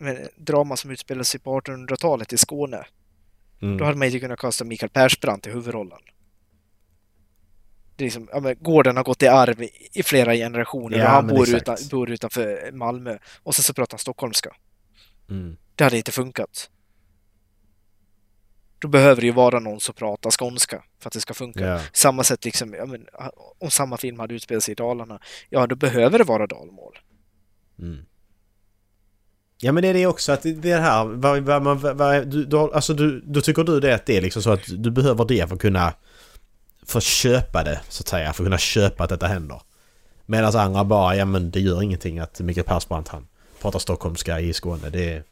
Speaker 1: men, en drama som utspelar sig på 1800-talet i Skåne,
Speaker 2: Mm.
Speaker 1: då hade man ju kunnat kasta Mikael Persbrandt i huvudrollen. Det är liksom, ja, men gården har gått i arv i, i flera generationer
Speaker 2: Ja,
Speaker 1: och han
Speaker 2: men
Speaker 1: bor,
Speaker 2: exakt.
Speaker 1: utan, bor utanför Malmö och sen så pratar han stockholmska.
Speaker 2: Mm.
Speaker 1: Det hade inte funkat. Då behöver det ju vara någon som pratar skånska för att det ska funka.
Speaker 2: Ja.
Speaker 1: Samma sätt liksom, ja, men, om samma film hade utspelat sig i Dalarna, ja då behöver det vara dalmål.
Speaker 2: Mm. ja men det är det också att det- det här, vad, vad, man- vad, vad, du, du, har- alltså du, då tycker du det att det är liksom så att du behöver det för att kunna för att köpa det så att säga, för att kunna köpa att detta händer. Medan andra bara, ja men det gör ingenting att Mikael Persbrandt han pratar stockholmska i Skåne. Det är,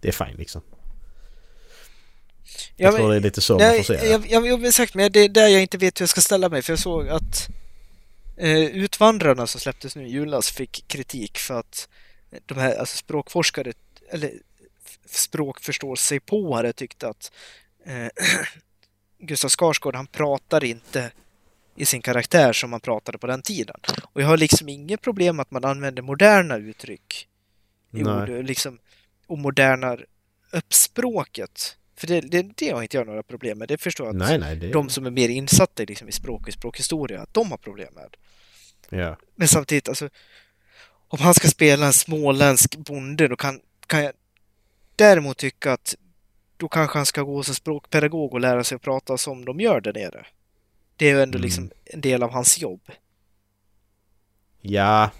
Speaker 2: det är fine liksom. Jag tror det är lite så man
Speaker 1: Nej,
Speaker 2: får se det.
Speaker 1: jag, jag, jag, exakt, men det är där jag inte vet hur jag ska ställa mig för jag såg att eh, Utvandrarna som släpptes nu i julas fick kritik för att de här alltså språkforskare eller f- språkförståsigpåare tyckte att eh, Gustav Skarsgård han pratar inte i sin karaktär som han pratade på den tiden. Och jag har liksom inget problem att man använder moderna uttryck i
Speaker 2: Nej.
Speaker 1: ord, liksom, och modernar upp språket. För det, det, det har inte jag några problem med. Det förstår jag att
Speaker 2: Nej, nej, det...
Speaker 1: de som är mer insatta i, liksom, i språk och språkhistoria, att de har problem med.
Speaker 2: Ja.
Speaker 1: Men samtidigt, alltså, om han ska spela en småländsk bonde, då kan, kan jag däremot tycka att då kanske han ska gå som språkpedagog och lära sig att prata som de gör där nere. Det är ju ändå
Speaker 2: Mm.
Speaker 1: liksom en del av hans jobb.
Speaker 2: ja,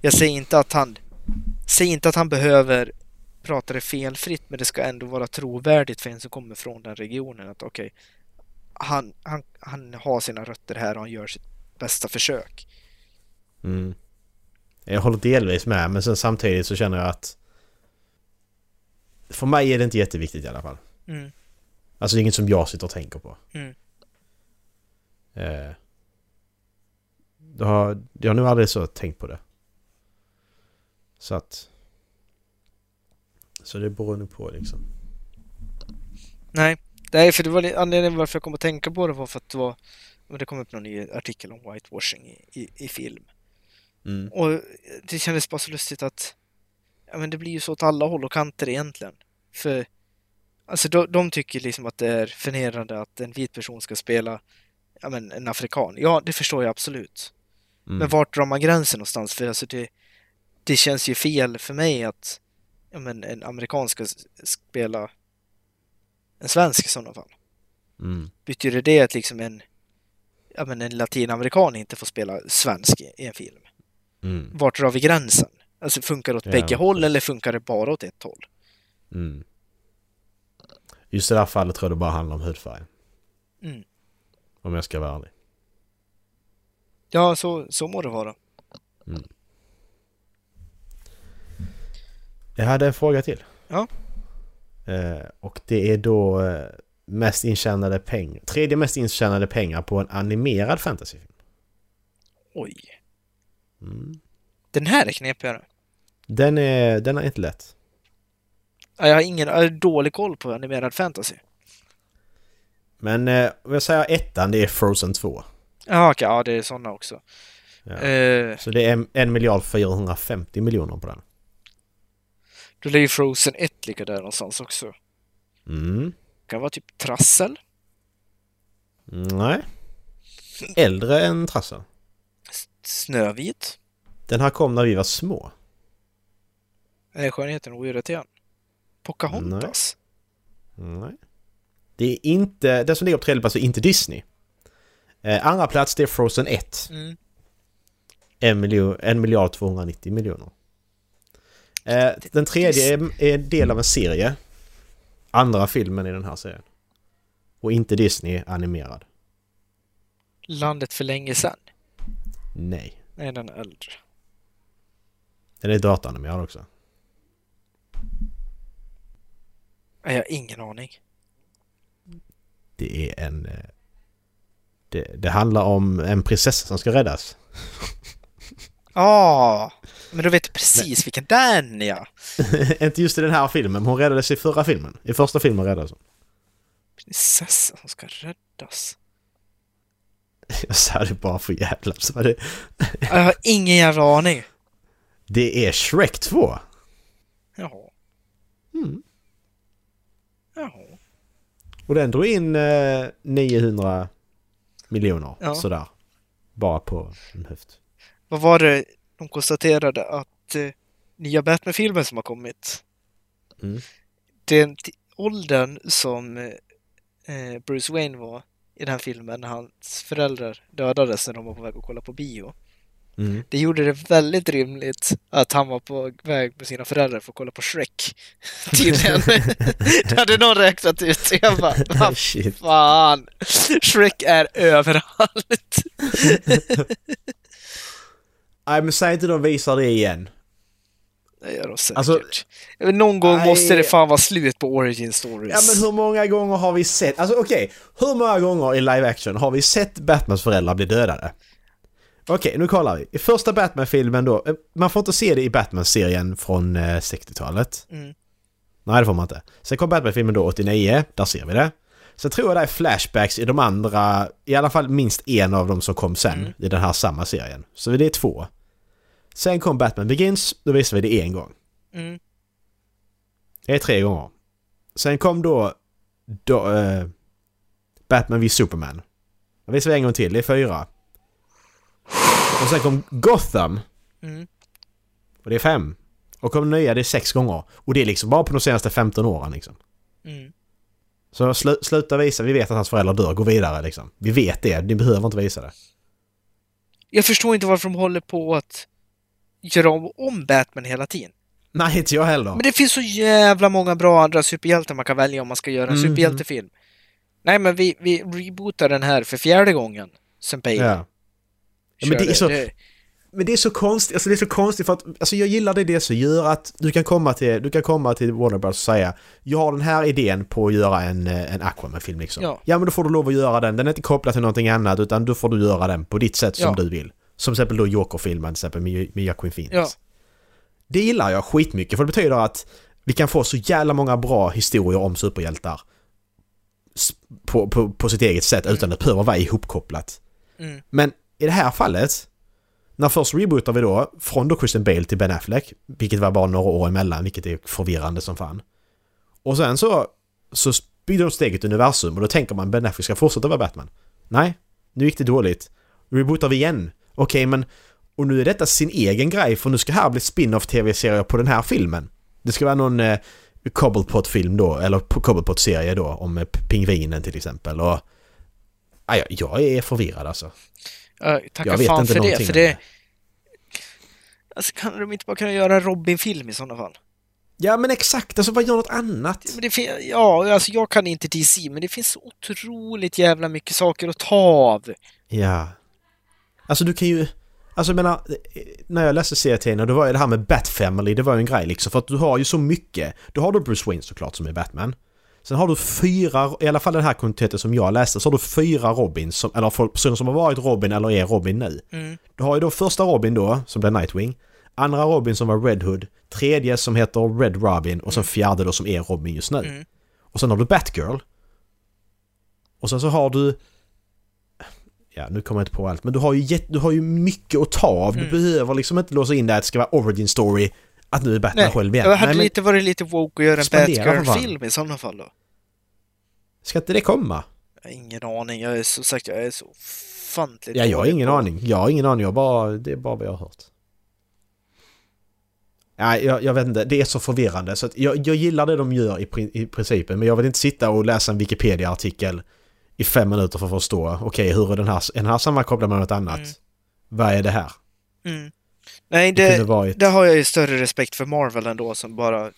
Speaker 1: Jag säger inte att han, säger inte att han behöver prata det felfritt, men det ska ändå vara trovärdigt för en som kommer från den regionen. Att okej, han, han, han har sina rötter här och han gör sitt bästa försök.
Speaker 2: Mm. Jag håller delvis med men sen samtidigt så känner jag att för mig är det inte jätteviktigt i alla fall.
Speaker 1: Mm.
Speaker 2: Alltså det är inget som jag sitter och tänker på.
Speaker 1: Mm.
Speaker 2: Eh, jag, har, jag har nog aldrig så tänkt på det. Så att... Så det beror nog på liksom.
Speaker 1: Nej, nej, för det var li- anledningen varför jag kom att tänka på det var för att det var men det kom upp någon ny artikel om whitewashing i, i, i film.
Speaker 2: Mm.
Speaker 1: Och det kändes bara så lustigt att ja, men det blir ju så åt alla håll och kanter egentligen. För alltså, de, de tycker liksom att det är förnedrande att en vit person ska spela ja, men, en afrikan. Ja, det förstår jag absolut.
Speaker 2: Mm.
Speaker 1: Men vart drar man gränsen någonstans? För alltså, det, det känns ju fel för mig att ja, men, en amerikan ska s- spela en svensk i sådana fall.
Speaker 2: Mm.
Speaker 1: Betyder det att liksom en, ja, men en latinamerikan inte får spela svensk i- i en film?
Speaker 2: Mm.
Speaker 1: vart drar vi gränsen? Alltså funkar det åt
Speaker 2: Ja,
Speaker 1: bägge
Speaker 2: precis.
Speaker 1: håll eller funkar det bara åt ett håll?
Speaker 2: Mm. Just i det här fallet tror jag det bara handlar om hudfärg.
Speaker 1: Mm.
Speaker 2: Om jag ska vara ärlig.
Speaker 1: Ja, så, så må det vara.
Speaker 2: Jag hade en fråga till.
Speaker 1: Ja.
Speaker 2: Eh, och det är då eh, mest intjänade pengar. Tredje mest intjänade pengar på en animerad fantasyfilm.
Speaker 1: Oj.
Speaker 2: Mm.
Speaker 1: Den här är knepigare.
Speaker 2: Den, är, den är inte lätt.
Speaker 1: Ja, Jag har ingen jag har dålig koll på animerad fantasy.
Speaker 2: Men eh, om jag säger ettan, det är Frozen 2.
Speaker 1: Ja, okej, ja det är sådana också.
Speaker 2: Ja.
Speaker 1: Eh,
Speaker 2: Så det är en- en miljard 450 miljoner på den.
Speaker 1: då ligger Frozen 1 ligga där någonstans också.
Speaker 2: Mm.
Speaker 1: Kan vara typ trassel.
Speaker 2: Nej. Äldre än Trassel.
Speaker 1: S- Snövit.
Speaker 2: Den här kom när vi var små.
Speaker 1: Är Eh, skönheten och odjuret igen? Pocahontas?
Speaker 2: Nej. Det är inte... Den som ligger på tredje plats är inte Disney. Eh, andra plats, det är Frozen 1.
Speaker 1: Mm.
Speaker 2: en miljon, en miljard 290 miljoner. Eh, den tredje är, är en del av en serie. Andra filmen i den här serien. Och inte Disney animerad.
Speaker 1: Landet för länge sedan.
Speaker 2: Nej.
Speaker 1: Nej, den är äldre.
Speaker 2: Den är dataanimerad också.
Speaker 1: Nej, Jag har ingen aning.
Speaker 2: Det är en... eh, Det, det handlar om en prinsessa som ska räddas.
Speaker 1: Ja, Ah! men då vet du precis vilken den är.
Speaker 2: inte just i den här filmen, men hon räddades i förra filmen. I första filmen räddades hon.
Speaker 1: Prinsessan som ska räddas.
Speaker 2: Jag sa det bara för jävla så var det,
Speaker 1: Jag har ingen jävla aning.
Speaker 2: det är Shrek 2!
Speaker 1: Jaha,
Speaker 2: Mm.
Speaker 1: jaha.
Speaker 2: Och den drog in eh, 900 miljoner
Speaker 1: Ja.
Speaker 2: sådär. Bara på en höft.
Speaker 1: Vad var det de konstaterade att eh, nya Batman-filmen som har kommit?
Speaker 2: Mm.
Speaker 1: Den t- åldern som eh, Bruce Wayne var i den här filmen när hans föräldrar dödades när de var på väg att kolla på bio.
Speaker 2: Mm.
Speaker 1: Det gjorde det väldigt rimligt att han var på väg med sina föräldrar för att kolla på Shrek. Tydligen. det hade någon räknat ut. Jag bara, vad
Speaker 2: Shit.
Speaker 1: Fan! Shrek är överallt.
Speaker 2: Nej men säg inte de visar det igen.
Speaker 1: Det gör de säkert.
Speaker 2: Alltså-
Speaker 1: Jag vet, Någon gång
Speaker 2: Nej.
Speaker 1: måste det fan vara slut på origin stories.
Speaker 2: Ja men hur många gånger har vi sett, alltså okej, hur många gånger i live action har vi sett Batmans föräldrar bli dödade? Okej, nu kollar vi. I första Batman-filmen då, eh, man får inte se det i Batman-serien från eh, 60-talet.
Speaker 1: Mm.
Speaker 2: Nej, det får man inte. Sen kom Batman-filmen då 89, där ser vi det. Sen tror jag det är flashbacks i de andra, i alla fall minst en av dem som kom sen i den här samma serien. Så det är två. Sen kom Batman Begins, då visar vi det en gång.
Speaker 1: Mm.
Speaker 2: Det är tre gånger. Sen kom då, då eh, Batman vid Superman. Den visar vi en gång till, det är fyra. Och sen kom Gotham.
Speaker 1: Mm.
Speaker 2: Och det är fem. Och kom nya, det är sex gånger. Och det är liksom bara på de senaste 15 åren liksom.
Speaker 1: Mm.
Speaker 2: Så slu, sluta visa, vi vet att hans föräldrar dör, gå vidare liksom. Vi vet det, ni behöver inte visa det.
Speaker 1: Jag förstår inte varför de håller på att göra om, om Batman hela tiden.
Speaker 2: Nej, inte jag heller.
Speaker 1: Men det finns så jävla många bra andra superhjältar man kan välja om man ska göra en
Speaker 2: Mhm.
Speaker 1: superhjältefilm. Nej, men vi, vi rebootar den här för fjärde gången sen Bale
Speaker 2: Ja. Ja, men det är
Speaker 1: körde.
Speaker 2: så- Men det är så konstigt, alltså det är så konstigt för att, alltså jag gillar det det som gör att du kan komma till, du kan komma till Warner Bros och säga Jag har den här idén på att göra en, eh, en Aquaman-film liksom.
Speaker 1: Ja.
Speaker 2: ja men då får du lov att göra den, den är inte kopplad till någonting annat utan då får du göra den på ditt sätt som
Speaker 1: Ja.
Speaker 2: du vill. Som till exempel då Joker-filmen till exempel med, med Joaquin Phoenix.
Speaker 1: Ja.
Speaker 2: Det gillar jag skitmycket för det betyder att vi kan få så jävla många bra historier om superhjältar s- på, på, på sitt eget sätt utan att behöva vara ihopkopplat.
Speaker 1: Mm.
Speaker 2: Men i det här fallet, när först rebootar vi då från då Christian Bale till Ben Affleck, vilket var bara några år emellan, vilket är förvirrande som fan. Och sen så, så byggde de steget universum och då tänker man Ben Affleck ska fortsätta vara Batman. Nej, nu gick det dåligt. Rebootar vi igen. Okej, men... Och nu är detta sin egen grej för nu ska här bli spin-off tv-serier på den här filmen. Det ska vara någon eh, Cobblepot-film då, eller p- Cobblepot-serie då, om eh, p- pingvinen till exempel. Och... Aj, jag är förvirrad alltså.
Speaker 1: Ja,
Speaker 2: Jag
Speaker 1: tacka
Speaker 2: vet
Speaker 1: fan
Speaker 2: inte
Speaker 1: för det,
Speaker 2: någonting
Speaker 1: för
Speaker 2: om
Speaker 1: det...
Speaker 2: det.
Speaker 1: Alltså, kan de inte bara kunna göra en Robin-film i sådana fall?
Speaker 2: Ja men exakt, alltså vad gör något annat?
Speaker 1: Men det fin- ja, alltså jag kan inte DC, men det finns så otroligt jävla mycket saker att ta av.
Speaker 2: Ja. Alltså du kan ju... Alltså jag menar, eh, när jag läste serietidningar, då var ju det här med Bat Family, det var ju en grej liksom. För att du har ju så mycket. Du har då Bruce Wayne såklart som är Batman. Sen har du fyra, i alla fall den här kvantiteten som jag läste, så har du fyra Robins, som, eller folk- personer som har varit Robin eller är Robin nu.
Speaker 1: Mm.
Speaker 2: Du har ju då första Robin då, som blev Nightwing. Andra Robin som var Red Hood. Tredje som heter Red Robin och sen fjärde då som är Robin just nu.
Speaker 1: Mm.
Speaker 2: Och sen har du Batgirl. Och sen så har du... Ja, nu kommer jag inte på allt, men du har ju, jätt, du har ju mycket att ta av.
Speaker 1: Mm.
Speaker 2: Du behöver liksom inte låsa in det att det ska vara origin story, att nu är Batman
Speaker 1: Nej,
Speaker 2: själv igen.
Speaker 1: jag hade
Speaker 2: Nej, men
Speaker 1: lite varit lite woke att göra en
Speaker 2: Spendera för fan.
Speaker 1: Batgirl-film i sådana fall då.
Speaker 2: ska inte det komma?
Speaker 1: Jag har ingen aning, jag är som sagt, jag är så ofantligt
Speaker 2: Ja, jag har
Speaker 1: dålig
Speaker 2: ingen
Speaker 1: på-
Speaker 2: aning. Jag har ingen aning. Jag bara, det är bara vad jag har hört. Nej, jag, jag vet inte. Det är så förvirrande. Så att jag, jag gillar det de gör i, prin- i principen, men jag vill inte sitta och läsa en Wikipedia-artikel i fem minuter för att förstå. Okej, hur är den här, är den här sammankopplad med något annat?
Speaker 1: Mm.
Speaker 2: Vad är det här?
Speaker 1: Mm. Nej,
Speaker 2: Det,
Speaker 1: det,
Speaker 2: kunde varit...
Speaker 1: där har jag ju större respekt för Marvel ändå som bara...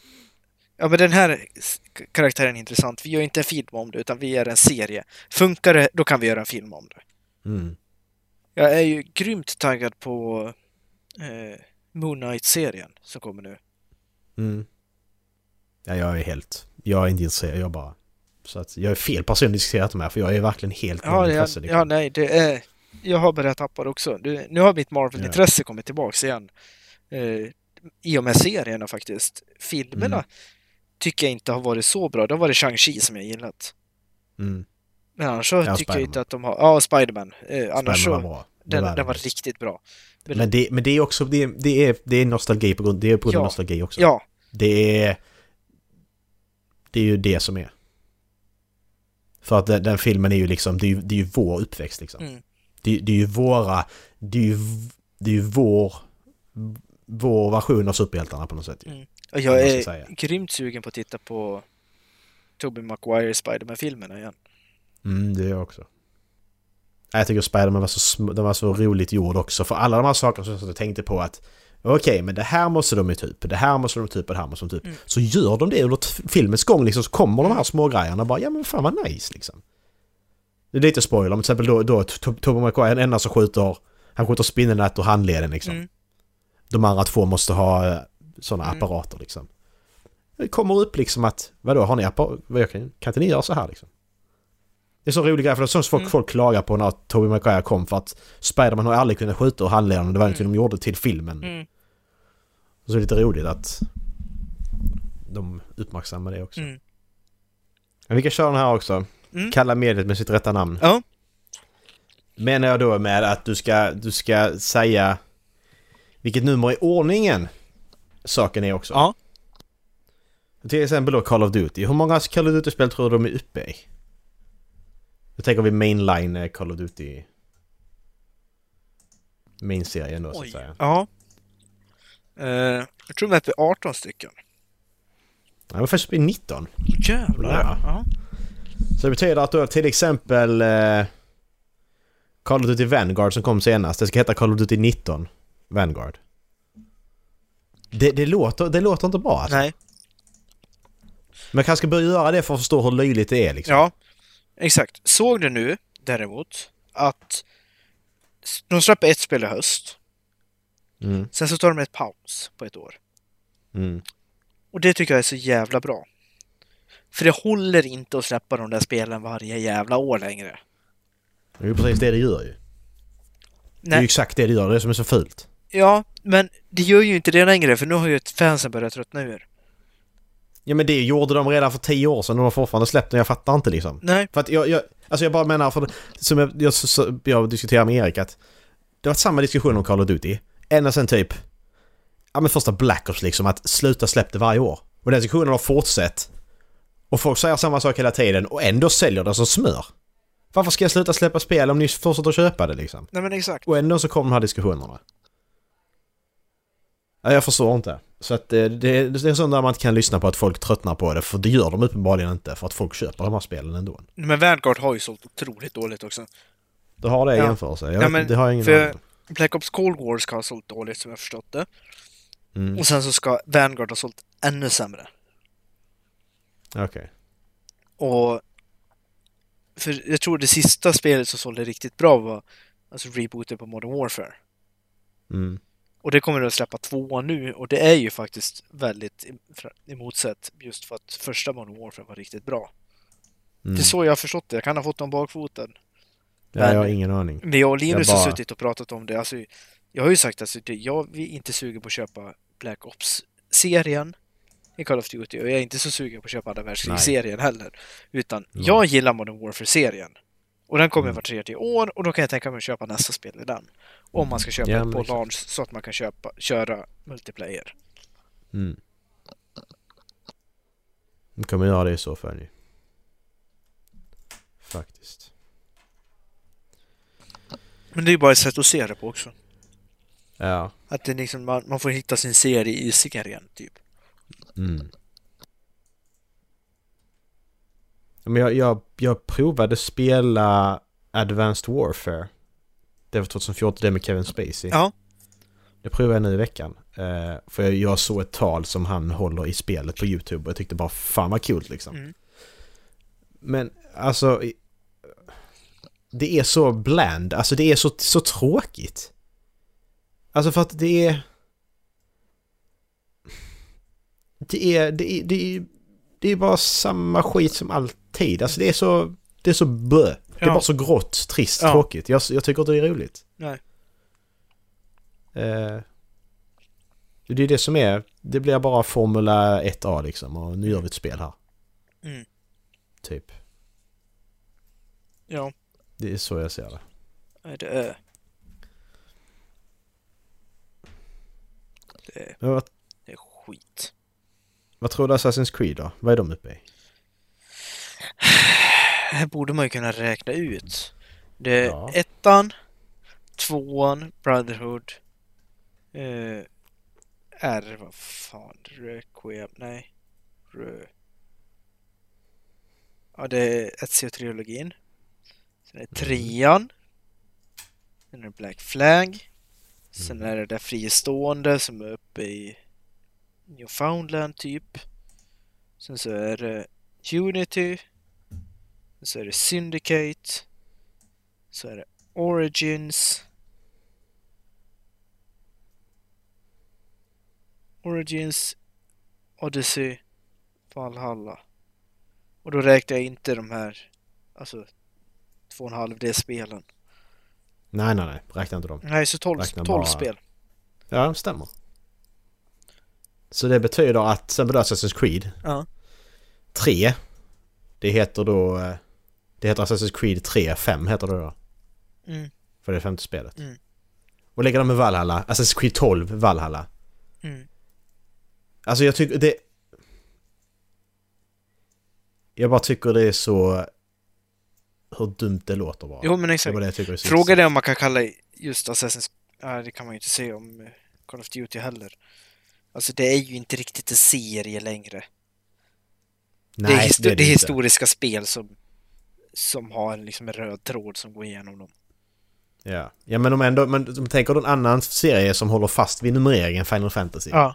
Speaker 1: Ja men den här s- karaktären är intressant, vi gör inte en film om det utan vi gör en serie. Funkar det, då kan vi göra en film om det.
Speaker 2: Mm.
Speaker 1: Jag är ju grymt taggad på eh, Moon Knight-serien som kommer nu.
Speaker 2: Mm. Ja, jag är helt... Jag är inte intresserad, jag bara... Så att jag är fel person att diskutera det med, för jag är verkligen helt
Speaker 1: Ja, ja,
Speaker 2: ointresserad, liksom.
Speaker 1: ja nej, det är... Jag har börjat tappa det också. Du, nu har mitt Marvel-intresse kommit tillbaks igen. Eh, I och med serierna faktiskt. Filmerna
Speaker 2: Mm.
Speaker 1: tycker jag inte har varit så bra. Det har varit Shang-Chi som jag gillat.
Speaker 2: Mm.
Speaker 1: Men annars så tycker jag
Speaker 2: Spider-Man.
Speaker 1: inte att de har... Ja, Spiderman. Eh, annars
Speaker 2: Spiderman
Speaker 1: så...
Speaker 2: var bra. Det
Speaker 1: Den,
Speaker 2: var
Speaker 1: den
Speaker 2: det
Speaker 1: var
Speaker 2: faktiskt.
Speaker 1: riktigt bra.
Speaker 2: Men det, men det är också, det, det, är, det är nostalgi på grund, det är på grund av
Speaker 1: Ja.
Speaker 2: nostalgi också.
Speaker 1: Ja,
Speaker 2: Det är... Det är ju det som är. För att den, den filmen är ju liksom, det är ju, det är ju vår uppväxt liksom.
Speaker 1: Mm.
Speaker 2: Det, det är ju våra, det är ju, v- det är ju vår, vår version av superhjältarna på något sätt. ju.
Speaker 1: Mm. och jag
Speaker 2: måste
Speaker 1: är
Speaker 2: säga.
Speaker 1: grymt sugen på att titta på Tobey Maguire Spiderman-filmerna igen.
Speaker 2: Mm, det är jag också. Jag tycker Spiderman var så, sm- den var så roligt gjord också, för alla de här sakerna som jag satt och tänkte på att okej, men det här måste de ju typ, det här måste de typ och det här måste de typ.
Speaker 1: Mm.
Speaker 2: Så gör de det under t- filmens gång liksom, så kommer de här små grejerna bara, ja men fan vad nice liksom. Det är lite spoiler, men till exempel då, då Tobbe McQuire, den enda som skjuter, han skjuter spindelnät och handleden liksom.
Speaker 1: Mm.
Speaker 2: de andra två måste ha sådana
Speaker 1: Mm.
Speaker 2: apparater liksom. Det kommer upp liksom att, vadå har ni apparater? Kan, kan inte ni göra så här liksom? Det är så rolig grej, för det är sånt folk,
Speaker 1: Mm.
Speaker 2: folk klagar på när Tobey Maguire kom för att Spiderman har ju aldrig kunnat skjuta ur handleden, det var ingenting de gjorde till filmen.
Speaker 1: Mm.
Speaker 2: Så det är lite roligt att de uppmärksammar det också.
Speaker 1: Mm.
Speaker 2: Men vi kan köra den här också.
Speaker 1: Mm.
Speaker 2: Kalla mediet med sitt rätta namn.
Speaker 1: Ja.
Speaker 2: Menar jag då med att du ska, du ska säga vilket nummer i ordningen saken är också.
Speaker 1: Ja.
Speaker 2: Till exempel då Call of Duty. Hur många Call of Duty-spel tror du de är uppe i? Då tänker vi mainline eh, Call of Duty. Main-serien då så att
Speaker 1: Oj.
Speaker 2: säga.
Speaker 1: Ja. Eh, jag tror de hette 18 stycken.
Speaker 2: Ja, men först uppe i 19.
Speaker 1: Jävlar.
Speaker 2: Ja.
Speaker 1: Ja.
Speaker 2: Så det betyder att då till exempel eh, Call of Duty Vanguard som kom senast, det ska heta Call of Duty 19 Vanguard. Det, det, låter, det låter inte bra alltså.
Speaker 1: Nej.
Speaker 2: Man kanske ska börja göra det för att förstå hur löjligt det är liksom.
Speaker 1: Ja. Exakt. Såg du nu däremot att s- de släpper ett spel i höst.
Speaker 2: Mm,
Speaker 1: Sen så tar de ett paus på ett år.
Speaker 2: mm.
Speaker 1: Och det tycker jag är så jävla bra. För det håller inte att släppa de där spelen varje jävla år längre.
Speaker 2: Det är ju precis det det gör ju. Det är ju
Speaker 1: Nej,
Speaker 2: exakt det det gör, det är det som är så fult.
Speaker 1: ja, men det gör ju inte det längre för nu har ju fansen börjat tröttna ur.
Speaker 2: Ja men det gjorde de redan för 10 år sedan och de har fortfarande släppt den, jag fattar inte liksom.
Speaker 1: Nej,
Speaker 2: För att jag, jag, alltså jag bara menar, för, som jag, jag, så- jag diskuterar med Erik att det har varit samma diskussion om Call of Duty. Ända sen typ, ja men första Black Ops liksom, att sluta släpp det varje år. Och den diskussionen har fortsatt. Och folk säger samma sak hela tiden och ändå säljer den som smör. Varför ska jag sluta släppa spel om ni fortsätter köpa det liksom?
Speaker 1: nej men exakt.
Speaker 2: Och ändå så kommer de här diskussionerna. Ja, jag förstår inte. Så att det, det, det är sånt där man inte kan lyssna på att folk tröttnar på det, för det gör de uppenbarligen inte, för att folk köper de här spelen ändå.
Speaker 1: Men Vanguard har ju sålt otroligt dåligt också.
Speaker 2: Du har det i
Speaker 1: Ja.
Speaker 2: jämförelse? Jag
Speaker 1: Ja,
Speaker 2: vet,
Speaker 1: men
Speaker 2: inte, det har jag ingen
Speaker 1: för-
Speaker 2: aning om.
Speaker 1: Black Ops Cold War ska ha sålt dåligt som jag har förstått det.
Speaker 2: Mm.
Speaker 1: Och sen så ska Vanguard ha sålt ännu sämre.
Speaker 2: Okej.
Speaker 1: Och... För jag tror det sista spelet som sålde riktigt bra var alltså rebooten på Modern Warfare.
Speaker 2: Mm.
Speaker 1: Och det kommer att släppa två nu och det är ju faktiskt väldigt em- fra- emotsett just för att första Modern Warfare var riktigt bra.
Speaker 2: Mm.
Speaker 1: Det är så jag har förstått det, jag kan ha fått dem bakfoten.
Speaker 2: ja, jag har ingen aning.
Speaker 1: Men jag och Linus
Speaker 2: Jag bara-
Speaker 1: har suttit och pratat om det. Alltså, jag har ju sagt att alltså, det- jag vi är inte sugen på att köpa Black Ops-serien i Call of Duty och jag är inte så sugen på att köpa andra världskrigsserien heller. Utan
Speaker 2: Nej.
Speaker 1: jag gillar Modern Warfare-serien. Och den kommer
Speaker 2: Mm.
Speaker 1: var tredje år och då kan jag tänka mig att köpa nästa spel i den. Om man ska köpa
Speaker 2: Ja,
Speaker 1: det
Speaker 2: men
Speaker 1: på
Speaker 2: exakt.
Speaker 1: launch så att man kan köpa, köra multiplayer.
Speaker 2: Mm. De kommer göra det i så fall ju. Faktiskt.
Speaker 1: Men det är ju bara ett sätt att se det på också.
Speaker 2: Ja.
Speaker 1: Att det är liksom, man, man får hitta sin serie i serien, typ.
Speaker 2: Mm. Ja, Men jag, jag, jag provade spela Advanced Warfare. Det var 2014, det med Kevin Spacey.
Speaker 1: Ja.
Speaker 2: Det provade jag nu i veckan. Eh, för jag, jag såg ett tal som han håller i spelet på YouTube och jag tyckte bara fan vad kul liksom.
Speaker 1: Mm.
Speaker 2: Men alltså... i- Det är så bland, alltså det är så, så tråkigt. Alltså för att det är... Det är, det är, det är, det är bara samma skit som alltid. Alltså det är så, det är så bö. Det är
Speaker 1: Ja.
Speaker 2: bara så grått, trist,
Speaker 1: Ja.
Speaker 2: tråkigt. Jag, jag tycker inte det är roligt.
Speaker 1: Nej.
Speaker 2: Eh, det är det som är, det blir bara Formula 1A liksom och nu gör vi ett spel här.
Speaker 1: Mm.
Speaker 2: Typ.
Speaker 1: Ja.
Speaker 2: Det är så jag ser det.
Speaker 1: Nej, Det är... Det är,
Speaker 2: Men vad,
Speaker 1: det är skit.
Speaker 2: vad tror du Assassin's Creed då? Vad är de uppe i?
Speaker 1: Det här borde man ju kunna räkna ut. Det är
Speaker 2: Ja.
Speaker 1: ettan, tvåan, Brotherhood, eh, R, vad fan, Requiem, nej, Rö. Ja, det är Ezio-trilogin. Sen är det trean. Sen är det Black Flag. Sen är det där fristående som är uppe i Newfoundland, typ. Sen så är det Unity. Sen så är det Syndicate. Så är det Origins. Origins, Odyssey, Valhalla. Och då räknar jag inte de här, alltså, 2,5D-spelen.
Speaker 2: Nej, nej, nej. Räkna inte dem.
Speaker 1: Nej, så 12,
Speaker 2: Räknar
Speaker 1: 12
Speaker 2: bara-
Speaker 1: spel.
Speaker 2: Ja, det stämmer. Så det betyder att, sen betyder Assassin's Creed
Speaker 1: Ja.
Speaker 2: 3. Det heter då... eh, Det heter Assassin's Creed 3, 5 heter det då.
Speaker 1: Mm.
Speaker 2: För det är femte spelet.
Speaker 1: Mm.
Speaker 2: Och lägger de med Valhalla, Assassin's Creed 12, Valhalla.
Speaker 1: Mm.
Speaker 2: Alltså jag tycker det... Jag bara tycker det är så... Hur dumt det låter bara.
Speaker 1: Jo, men
Speaker 2: det
Speaker 1: exakt.
Speaker 2: var det jag tycker är så
Speaker 1: Frågan är om man kan kalla just Assassin's... Nej, det kan man ju inte säga om eh, Call of Duty heller. Alltså det är ju inte riktigt en serie längre.
Speaker 2: Nej,
Speaker 1: det är, histo- det är
Speaker 2: inte.
Speaker 1: historiska spel som, som har en, liksom en röd tråd som går igenom dem.
Speaker 2: Ja. ja, men om ändå... Men om tänker du en annan serie som håller fast vid numreringen Final Fantasy.
Speaker 1: Ja.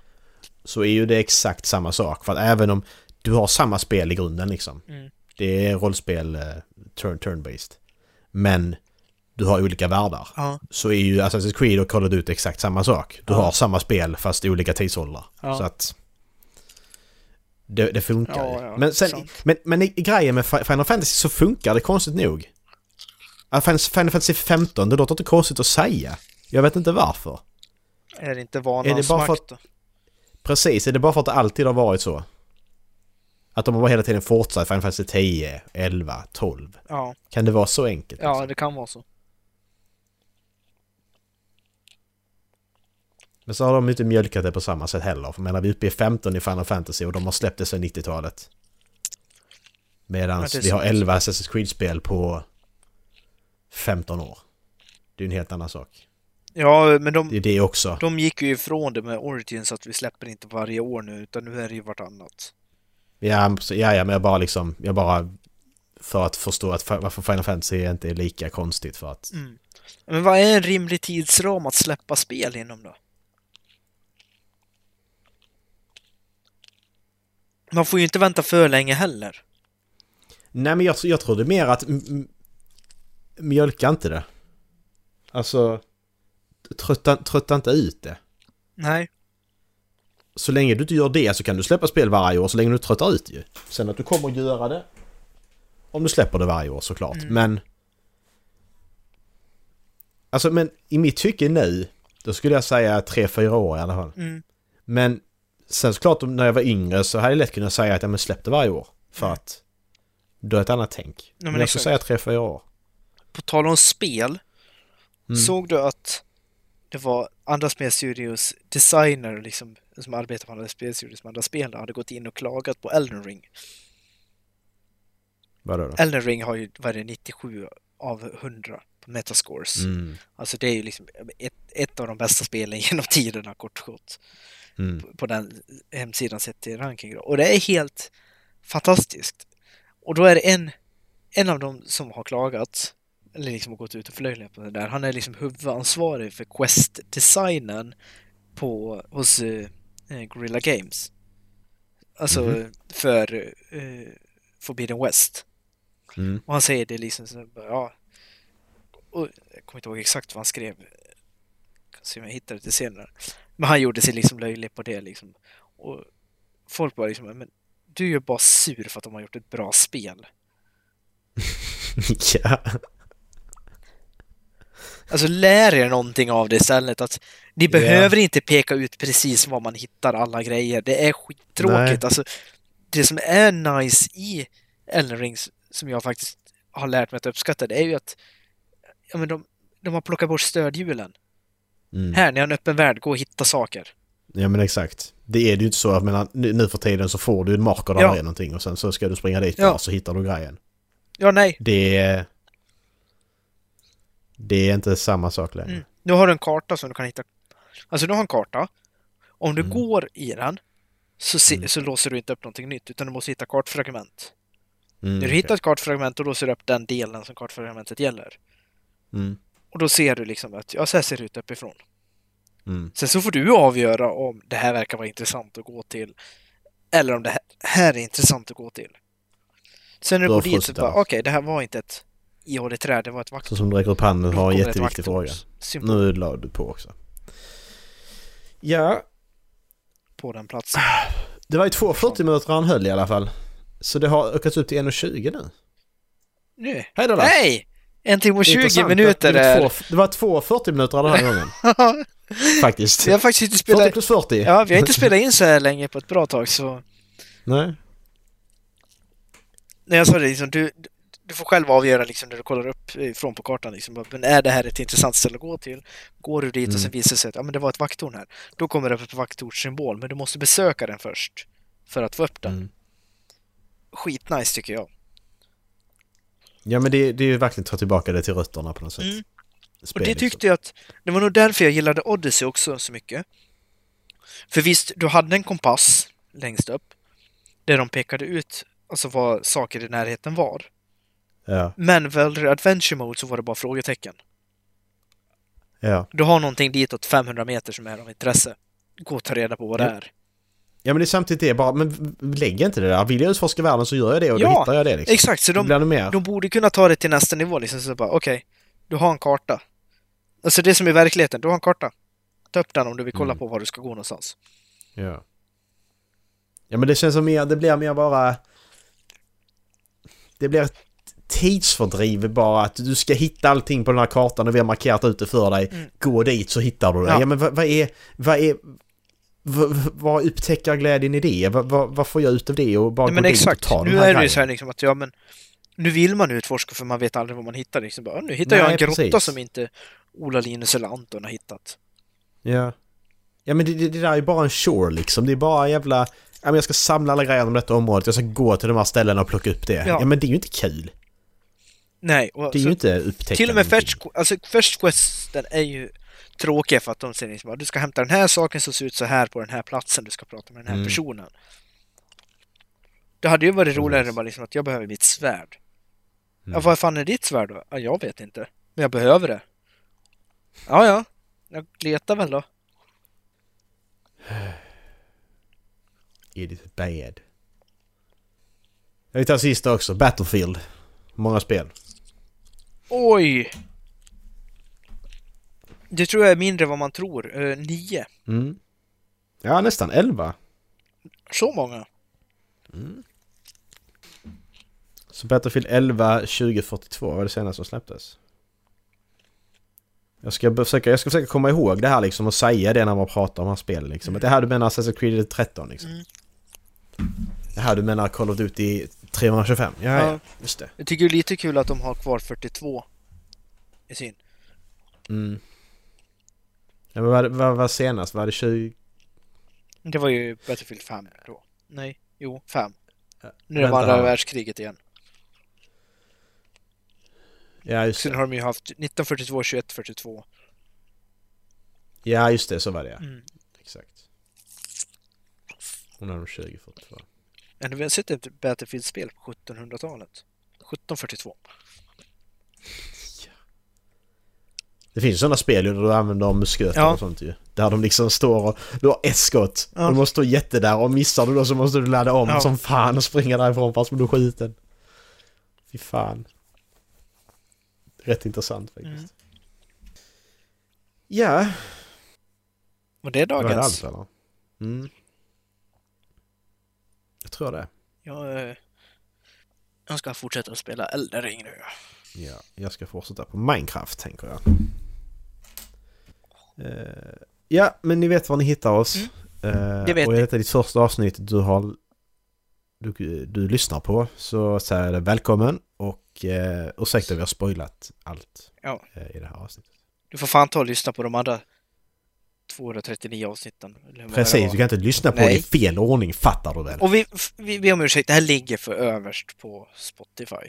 Speaker 2: Så är ju det exakt samma sak. För att även om du har samma spel i grunden liksom.
Speaker 1: Mm.
Speaker 2: Det är rollspel eh, turn, turn-based. Men du har olika världar.
Speaker 1: Ja.
Speaker 2: så är ju Assassin's Creed och Call of Duty exakt samma sak. Du
Speaker 1: Ja.
Speaker 2: har samma spel fast i olika tidsåldrar.
Speaker 1: Ja.
Speaker 2: Så att... Det, det funkar
Speaker 1: Ja,
Speaker 2: ju.
Speaker 1: ja,
Speaker 2: Men, sen,
Speaker 1: sant.
Speaker 2: men, men i, i grejen med Fi- Final Fantasy så funkar det konstigt nog. Att Fin- Final Fantasy 15, det låter inte konstigt att säga. Jag vet inte varför.
Speaker 1: Är det inte
Speaker 2: Är det
Speaker 1: vanans
Speaker 2: bara för
Speaker 1: makt då?
Speaker 2: Precis, är det bara för att det alltid har varit så? Att de har bara hela tiden fortsatt Final Fantasy 10, 11, 12.
Speaker 1: Ja.
Speaker 2: Kan det vara så enkelt?
Speaker 1: ja,
Speaker 2: liksom?
Speaker 1: det kan vara så.
Speaker 2: Men så har de ju inte mjölkat det på samma sätt heller. För jag menar, vi är uppe i 15 i Final Fantasy och de har släppt det sedan 90-talet. Medan
Speaker 1: Ja, det är
Speaker 2: vi har
Speaker 1: sant.
Speaker 2: 11 Assassin's Creed-spel på 15 år. Det är ju en helt annan sak.
Speaker 1: Ja, men de,
Speaker 2: Det är det också.
Speaker 1: de gick ju ifrån det med Origins att vi släpper inte varje år nu, utan nu är det ju vartannat.
Speaker 2: Ja, precis. ja, ja men jag bara liksom, jag bara för att förstå att fa- varför Final Fantasy inte är lika konstigt för att...
Speaker 1: Mm. Men vad är en rimlig tidsram att släppa spel inom då? Man får ju inte vänta för länge heller.
Speaker 2: Nej men jag, jag trodde mer att m- m- mjölka inte det. Alltså, trötta, trötta inte ut det.
Speaker 1: Nej.
Speaker 2: Så länge du inte gör det så kan du släppa spel varje år så länge du inte tröttar ut ju. Sen att du kommer att göra det om du släpper det varje år såklart.
Speaker 1: Mm.
Speaker 2: Men... Alltså men i mitt tycke nu, då skulle jag säga 3-4 år i alla fall.
Speaker 1: Mm.
Speaker 2: Men sen såklart om- när jag var yngre så hade jag lätt kunnat säga att jag men släpp det varje år. För
Speaker 1: Mm.
Speaker 2: att du har ett annat tänk.
Speaker 1: men
Speaker 2: men jag skulle säga 3-4 år.
Speaker 1: På tal om spel,
Speaker 2: Mm.
Speaker 1: såg du att det var andra spelstudios designer liksom, som arbetar på andra spelstudios som andra spel hade gått in och klagat på Elden Ring.
Speaker 2: Vadå då?
Speaker 1: Elden Ring har ju, vad är det, 97 av 100 på Metascores.
Speaker 2: Mm.
Speaker 1: Alltså det är ju liksom ett, ett av de bästa spelen genom tiderna kort och gott.
Speaker 2: Mm.
Speaker 1: på- på den hemsidan sett till ranking. då. Och det är helt fantastiskt. Och då är det en, en av dem som har klagat, eller liksom har gått ut och förlöjligat på det där, han är liksom huvudansvarig för Quest-designen på, hos eh, eh, Guerrilla Games. Alltså
Speaker 2: Mhm.
Speaker 1: för eh, Forbidden West.
Speaker 2: Mm.
Speaker 1: Och han säger det liksom så, bara, ja. Och jag kommer inte ihåg exakt vad han skrev. Kan se om jag hittar det till senare. Men han gjorde sig liksom löjlig på det liksom. Och folk bara liksom, men du är ju bara sur för att de har gjort ett bra spel.
Speaker 2: ja.
Speaker 1: Alltså lär er någonting av det istället. Att ni
Speaker 2: Ja.
Speaker 1: behöver inte peka ut precis var man hittar alla grejer. Det är
Speaker 2: Nej.
Speaker 1: skittråkigt. Alltså, det som är nice i Elden Rings som jag faktiskt har lärt mig att uppskatta, det är ju att ja, men de, de har plockat bort stödhjulen.
Speaker 2: Mm.
Speaker 1: Här, ni har en öppen värld, gå och hitta saker.
Speaker 2: Ja men exakt. Det är det ju inte så att menar, nu nu för tiden så får du en marker där
Speaker 1: Ja.
Speaker 2: det är någonting och sen så ska du springa dit
Speaker 1: Ja.
Speaker 2: och så hittar du grejen.
Speaker 1: Ja, nej.
Speaker 2: Det är... Det är inte samma sak längre.
Speaker 1: Mm. Nu har du en karta som du kan hitta. Alltså, du har en karta. Om du
Speaker 2: Mm.
Speaker 1: går i den så, se,
Speaker 2: Mm.
Speaker 1: så låser du inte upp någonting nytt, utan du måste hitta kartfragment.
Speaker 2: Mm,
Speaker 1: När du
Speaker 2: okej.
Speaker 1: hittar ett kartfragment, då låser du upp den delen som kartfragmentet gäller.
Speaker 2: Mm,
Speaker 1: Och då ser du liksom att, ja, så här ser det ut uppifrån.
Speaker 2: mm,
Speaker 1: Sen så får du avgöra om det här verkar vara intressant att gå till, eller om det här, här är intressant att gå till. Sen när du
Speaker 2: Bra
Speaker 1: går dit så
Speaker 2: frusta.
Speaker 1: bara, okej, det här var inte ett ihåligt träd, det var ett vackert
Speaker 2: Så som du räcker upp handen har en
Speaker 1: block och ett
Speaker 2: jätteviktig fråga.
Speaker 1: vackert symbol.
Speaker 2: Nu la du på också. Ja.
Speaker 1: på den platsen.
Speaker 2: Det var ju två 40 minuter han höll i alla fall. Så det har ökat upp till 1.20 nu.
Speaker 1: Nu.
Speaker 2: Hej då! Lars.
Speaker 1: Nej! En timme och 20
Speaker 2: Intressant.
Speaker 1: minuter
Speaker 2: det, det,
Speaker 1: är...
Speaker 2: två, det var två 40 minuter den här gången, faktiskt.
Speaker 1: Vi har faktiskt inte
Speaker 2: 40
Speaker 1: spelat...
Speaker 2: plus 40.
Speaker 1: Ja, vi har inte spelat in så här länge på ett bra tag så...
Speaker 2: Nej.
Speaker 1: När jag sa det liksom, du, du får själv avgöra liksom när du kollar upp eh, från på kartan liksom. bara, Men är det här ett intressant ställe att gå till? Går du dit och sen visar det sig att ja, men det var ett vakttorn här. Då kommer det upp ett vakttornssymbol, men du måste besöka den först. För att få upp den.
Speaker 2: Mm.
Speaker 1: Skitnice tycker jag.
Speaker 2: Ja men det, det är ju verkligen att ta tillbaka det till rötterna på något sätt.
Speaker 1: Mm. Och
Speaker 2: Spel,
Speaker 1: det
Speaker 2: liksom.
Speaker 1: tyckte jag att, det var nog därför jag gillade Odyssey också så mycket. För visst, du hade en kompass längst upp, där de pekade ut alltså vad saker i närheten var.
Speaker 2: Ja,
Speaker 1: Men väl i Adventure Mode så var det bara frågetecken.
Speaker 2: ja.
Speaker 1: Du har någonting ditåt 500 meter som är av intresse. Gå och ta reda på vad det
Speaker 2: Ja,
Speaker 1: är.
Speaker 2: ja men det är samtidigt det bara, men v- lägg inte det där. Vill jag utforska världen så gör jag det och
Speaker 1: Ja,
Speaker 2: då hittar jag det liksom.
Speaker 1: Exakt, så
Speaker 2: Då
Speaker 1: de,
Speaker 2: blir det mer.
Speaker 1: de borde kunna ta det till nästa nivå liksom. Så bara, okej, du har en karta. Alltså det som är verkligheten, du har en karta. Ta upp den om du vill kolla
Speaker 2: Mm.
Speaker 1: på var du ska gå någonstans.
Speaker 2: Ja. Ja men det känns som mer, det blir mer bara... Det blir ett tidsfördriv bara att du ska hitta allting på den här kartan och vi har markerat ut det för dig.
Speaker 1: Mm.
Speaker 2: Gå dit så hittar du det.
Speaker 1: Ja.
Speaker 2: Ja, men vad, vad är... Vad är... Vad, vad upptäcker glädjen i det? Vad, vad, vad får jag ut av det och bara
Speaker 1: Nej, men
Speaker 2: gå dit
Speaker 1: exakt.
Speaker 2: och ta
Speaker 1: Nu
Speaker 2: den här
Speaker 1: är det ju
Speaker 2: grejen?
Speaker 1: så här liksom att ja, men nu vill man utforska för man vet aldrig vad man hittar. Liksom. Bara, nu hittar jag
Speaker 2: Nej,
Speaker 1: en grotta
Speaker 2: precis.
Speaker 1: som inte Ola, Linus eller Anton har hittat.
Speaker 2: Ja. Ja men det, det, det där är ju bara en shore liksom. Det är bara en jävla... Ja men jag ska samla alla grejer om detta området. Jag ska gå till de här ställena och plocka upp det.
Speaker 1: Ja.
Speaker 2: Ja, men det är ju inte kul.
Speaker 1: Nej, och
Speaker 2: Det är
Speaker 1: så,
Speaker 2: ju inte upptäcka
Speaker 1: till och med
Speaker 2: någonting.
Speaker 1: fetch, alltså, fetch questen är ju tråkiga för att de säger liksom, att du ska hämta den här saken som ser ut så här på den här platsen, du ska prata med den här
Speaker 2: Mm.
Speaker 1: personen. Det hade ju varit
Speaker 2: Precis.
Speaker 1: roligare bara liksom att jag behöver mitt svärd. Ja,
Speaker 2: Mm.
Speaker 1: vad fan är ditt svärd då? Ja, jag vet inte. Men jag behöver det. Ja, ja. Jag letar väl då.
Speaker 2: It is bad. Jag vill ta sista också. Battlefield. Många spel.
Speaker 1: Oj! Det tror jag är mindre än vad man tror. Eh, nio.
Speaker 2: Mm. Ja, nästan 11.
Speaker 1: Så många?
Speaker 2: Så Battlefield 11 2042 var det senaste som släpptes. Jag ska, försöka, jag ska försöka komma ihåg det här liksom och säga det när man pratar om de här spelen liksom. Att det här du menar Assassin's Creed 13 liksom.
Speaker 1: Mm.
Speaker 2: Det här du menar Call of Duty 325. Ja, ja.
Speaker 1: Ja.
Speaker 2: just det.
Speaker 1: Jag tycker det är lite kul att de har kvar 42 i sin.
Speaker 2: Mm. Ja, men vad vad var senast? Var det 20?
Speaker 1: Det var ju Battlefield 5 då. Nej, jo, 5. Nu är det
Speaker 2: vänta
Speaker 1: var andra
Speaker 2: här.
Speaker 1: världskriget igen.
Speaker 2: Ja just,
Speaker 1: Sen
Speaker 2: det.
Speaker 1: har de ju haft 1942, 2142.
Speaker 2: ja, just det. Så var det ja.
Speaker 1: Mm.
Speaker 2: Exakt. Hon har de 2042.
Speaker 1: Men vi har sett ett Battlefield-spel på 1700-talet. 1742.
Speaker 2: Det finns sådana spel ju där du använder musköter
Speaker 1: Ja.
Speaker 2: och sånt ju. Där de liksom står och... Du har ett skott
Speaker 1: Ja.
Speaker 2: och du måste stå jätte där och missar du då så måste du ladda om
Speaker 1: Ja.
Speaker 2: som fan och springa därifrån fast du blir skjuten. Fy fan. Rätt intressant faktiskt.
Speaker 1: Mm.
Speaker 2: Ja,
Speaker 1: Och det är
Speaker 2: det alltså? var det
Speaker 1: dagens.
Speaker 2: allt eller? Mm. Jag tror det.
Speaker 1: Jag, eh, jag ska fortsätta att spela Elden Ring nu.
Speaker 2: Ja, jag ska fortsätta på Minecraft tänker jag. Eh, ja, men ni vet var ni hittar oss. Eh,
Speaker 1: Mm. Det vet
Speaker 2: och
Speaker 1: ni.
Speaker 2: är detta ditt första avsnitt du har du, du lyssnar på så säger jag välkommen och eh, ursäkta vi har spoilat allt
Speaker 1: Ja.
Speaker 2: eh, i det här avsnittet.
Speaker 1: Du får fan ta och lyssna på de andra 239 avsnitten. eller vad det
Speaker 2: Precis,
Speaker 1: var.
Speaker 2: du kan inte lyssna på
Speaker 1: Nej.
Speaker 2: det i fel ordning fattar du väl?
Speaker 1: Och vi, f- vi ber om ursäkt, det här ligger för överst på Spotify.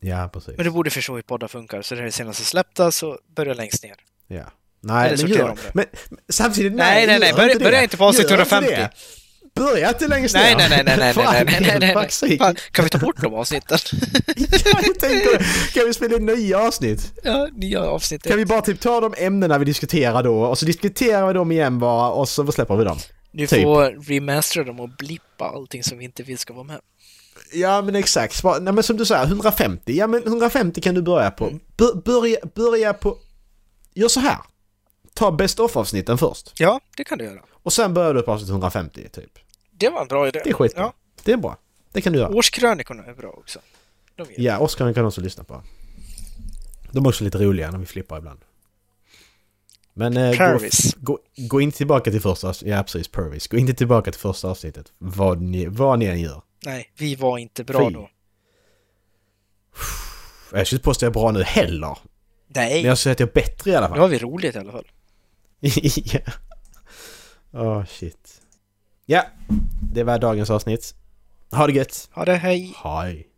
Speaker 2: Ja, precis.
Speaker 1: Men du borde förstå hur poddar funkar, så det här är det senaste släppta, så börja längst ner.
Speaker 2: Ja.
Speaker 1: Eller
Speaker 2: Nej, men
Speaker 1: sortera
Speaker 2: gör
Speaker 1: om det.
Speaker 2: Men samtidigt,
Speaker 1: Nej,
Speaker 2: nej,
Speaker 1: nej, nej,
Speaker 2: gör
Speaker 1: börja-
Speaker 2: inte det.
Speaker 1: börja inte på
Speaker 2: Gör
Speaker 1: 650.
Speaker 2: inte det. Börja inte längst
Speaker 1: Nej, nej,
Speaker 2: ner.
Speaker 1: nej, nej, nej,
Speaker 2: Fan,
Speaker 1: nej, nej, nej, nej,
Speaker 2: fuck's sake.
Speaker 1: nej. Fan, kan vi ta bort de avsnitten?
Speaker 2: jag tänker det. Kan vi spela in nya avsnitt?
Speaker 1: Ja, nya avsnitt.
Speaker 2: Kan vi bara typ ta de ämnena vi diskuterar då och så diskuterar vi dem igen bara och så släpper vi dem?
Speaker 1: Du
Speaker 2: typ.
Speaker 1: får remastera dem och blippa allting som vi inte vill ska vara med.
Speaker 2: Ja men exakt, Bara- nej men som du säger 150, ja men 150 kan du börja på. Bör- börja, börja på... Gör så här. Ta best of avsnitten först.
Speaker 1: Ja, det kan du göra.
Speaker 2: Och sen börjar du på avsnitt 150, typ.
Speaker 1: Det var en bra idé.
Speaker 2: Det är skitbra.
Speaker 1: Ja.
Speaker 2: Det är bra. Det kan du göra.
Speaker 1: Årskrönikorna är bra också. De är
Speaker 2: Ja, Oscar kan också lyssna på. De är också lite roliga när vi flippar ibland. Men eh, gå,
Speaker 1: Purvis.
Speaker 2: gå, gå inte tillbaka till första avsnittet. Ja, precis. Purvis. Gå inte tillbaka till första avsnittet. Vad ni, vad ni än gör.
Speaker 1: Nej, vi var inte bra
Speaker 2: Fy.
Speaker 1: då.
Speaker 2: Jag skulle inte påstå att jag är bra nu heller.
Speaker 1: Nej,
Speaker 2: Men jag säger att jag är bättre i alla
Speaker 1: nu
Speaker 2: fall.
Speaker 1: har vi roligt i alla fall.
Speaker 2: Ja. Åh, shit. Ja, det var dagens avsnitt. Ha det gött.
Speaker 1: Ha det, hej!
Speaker 2: Hej.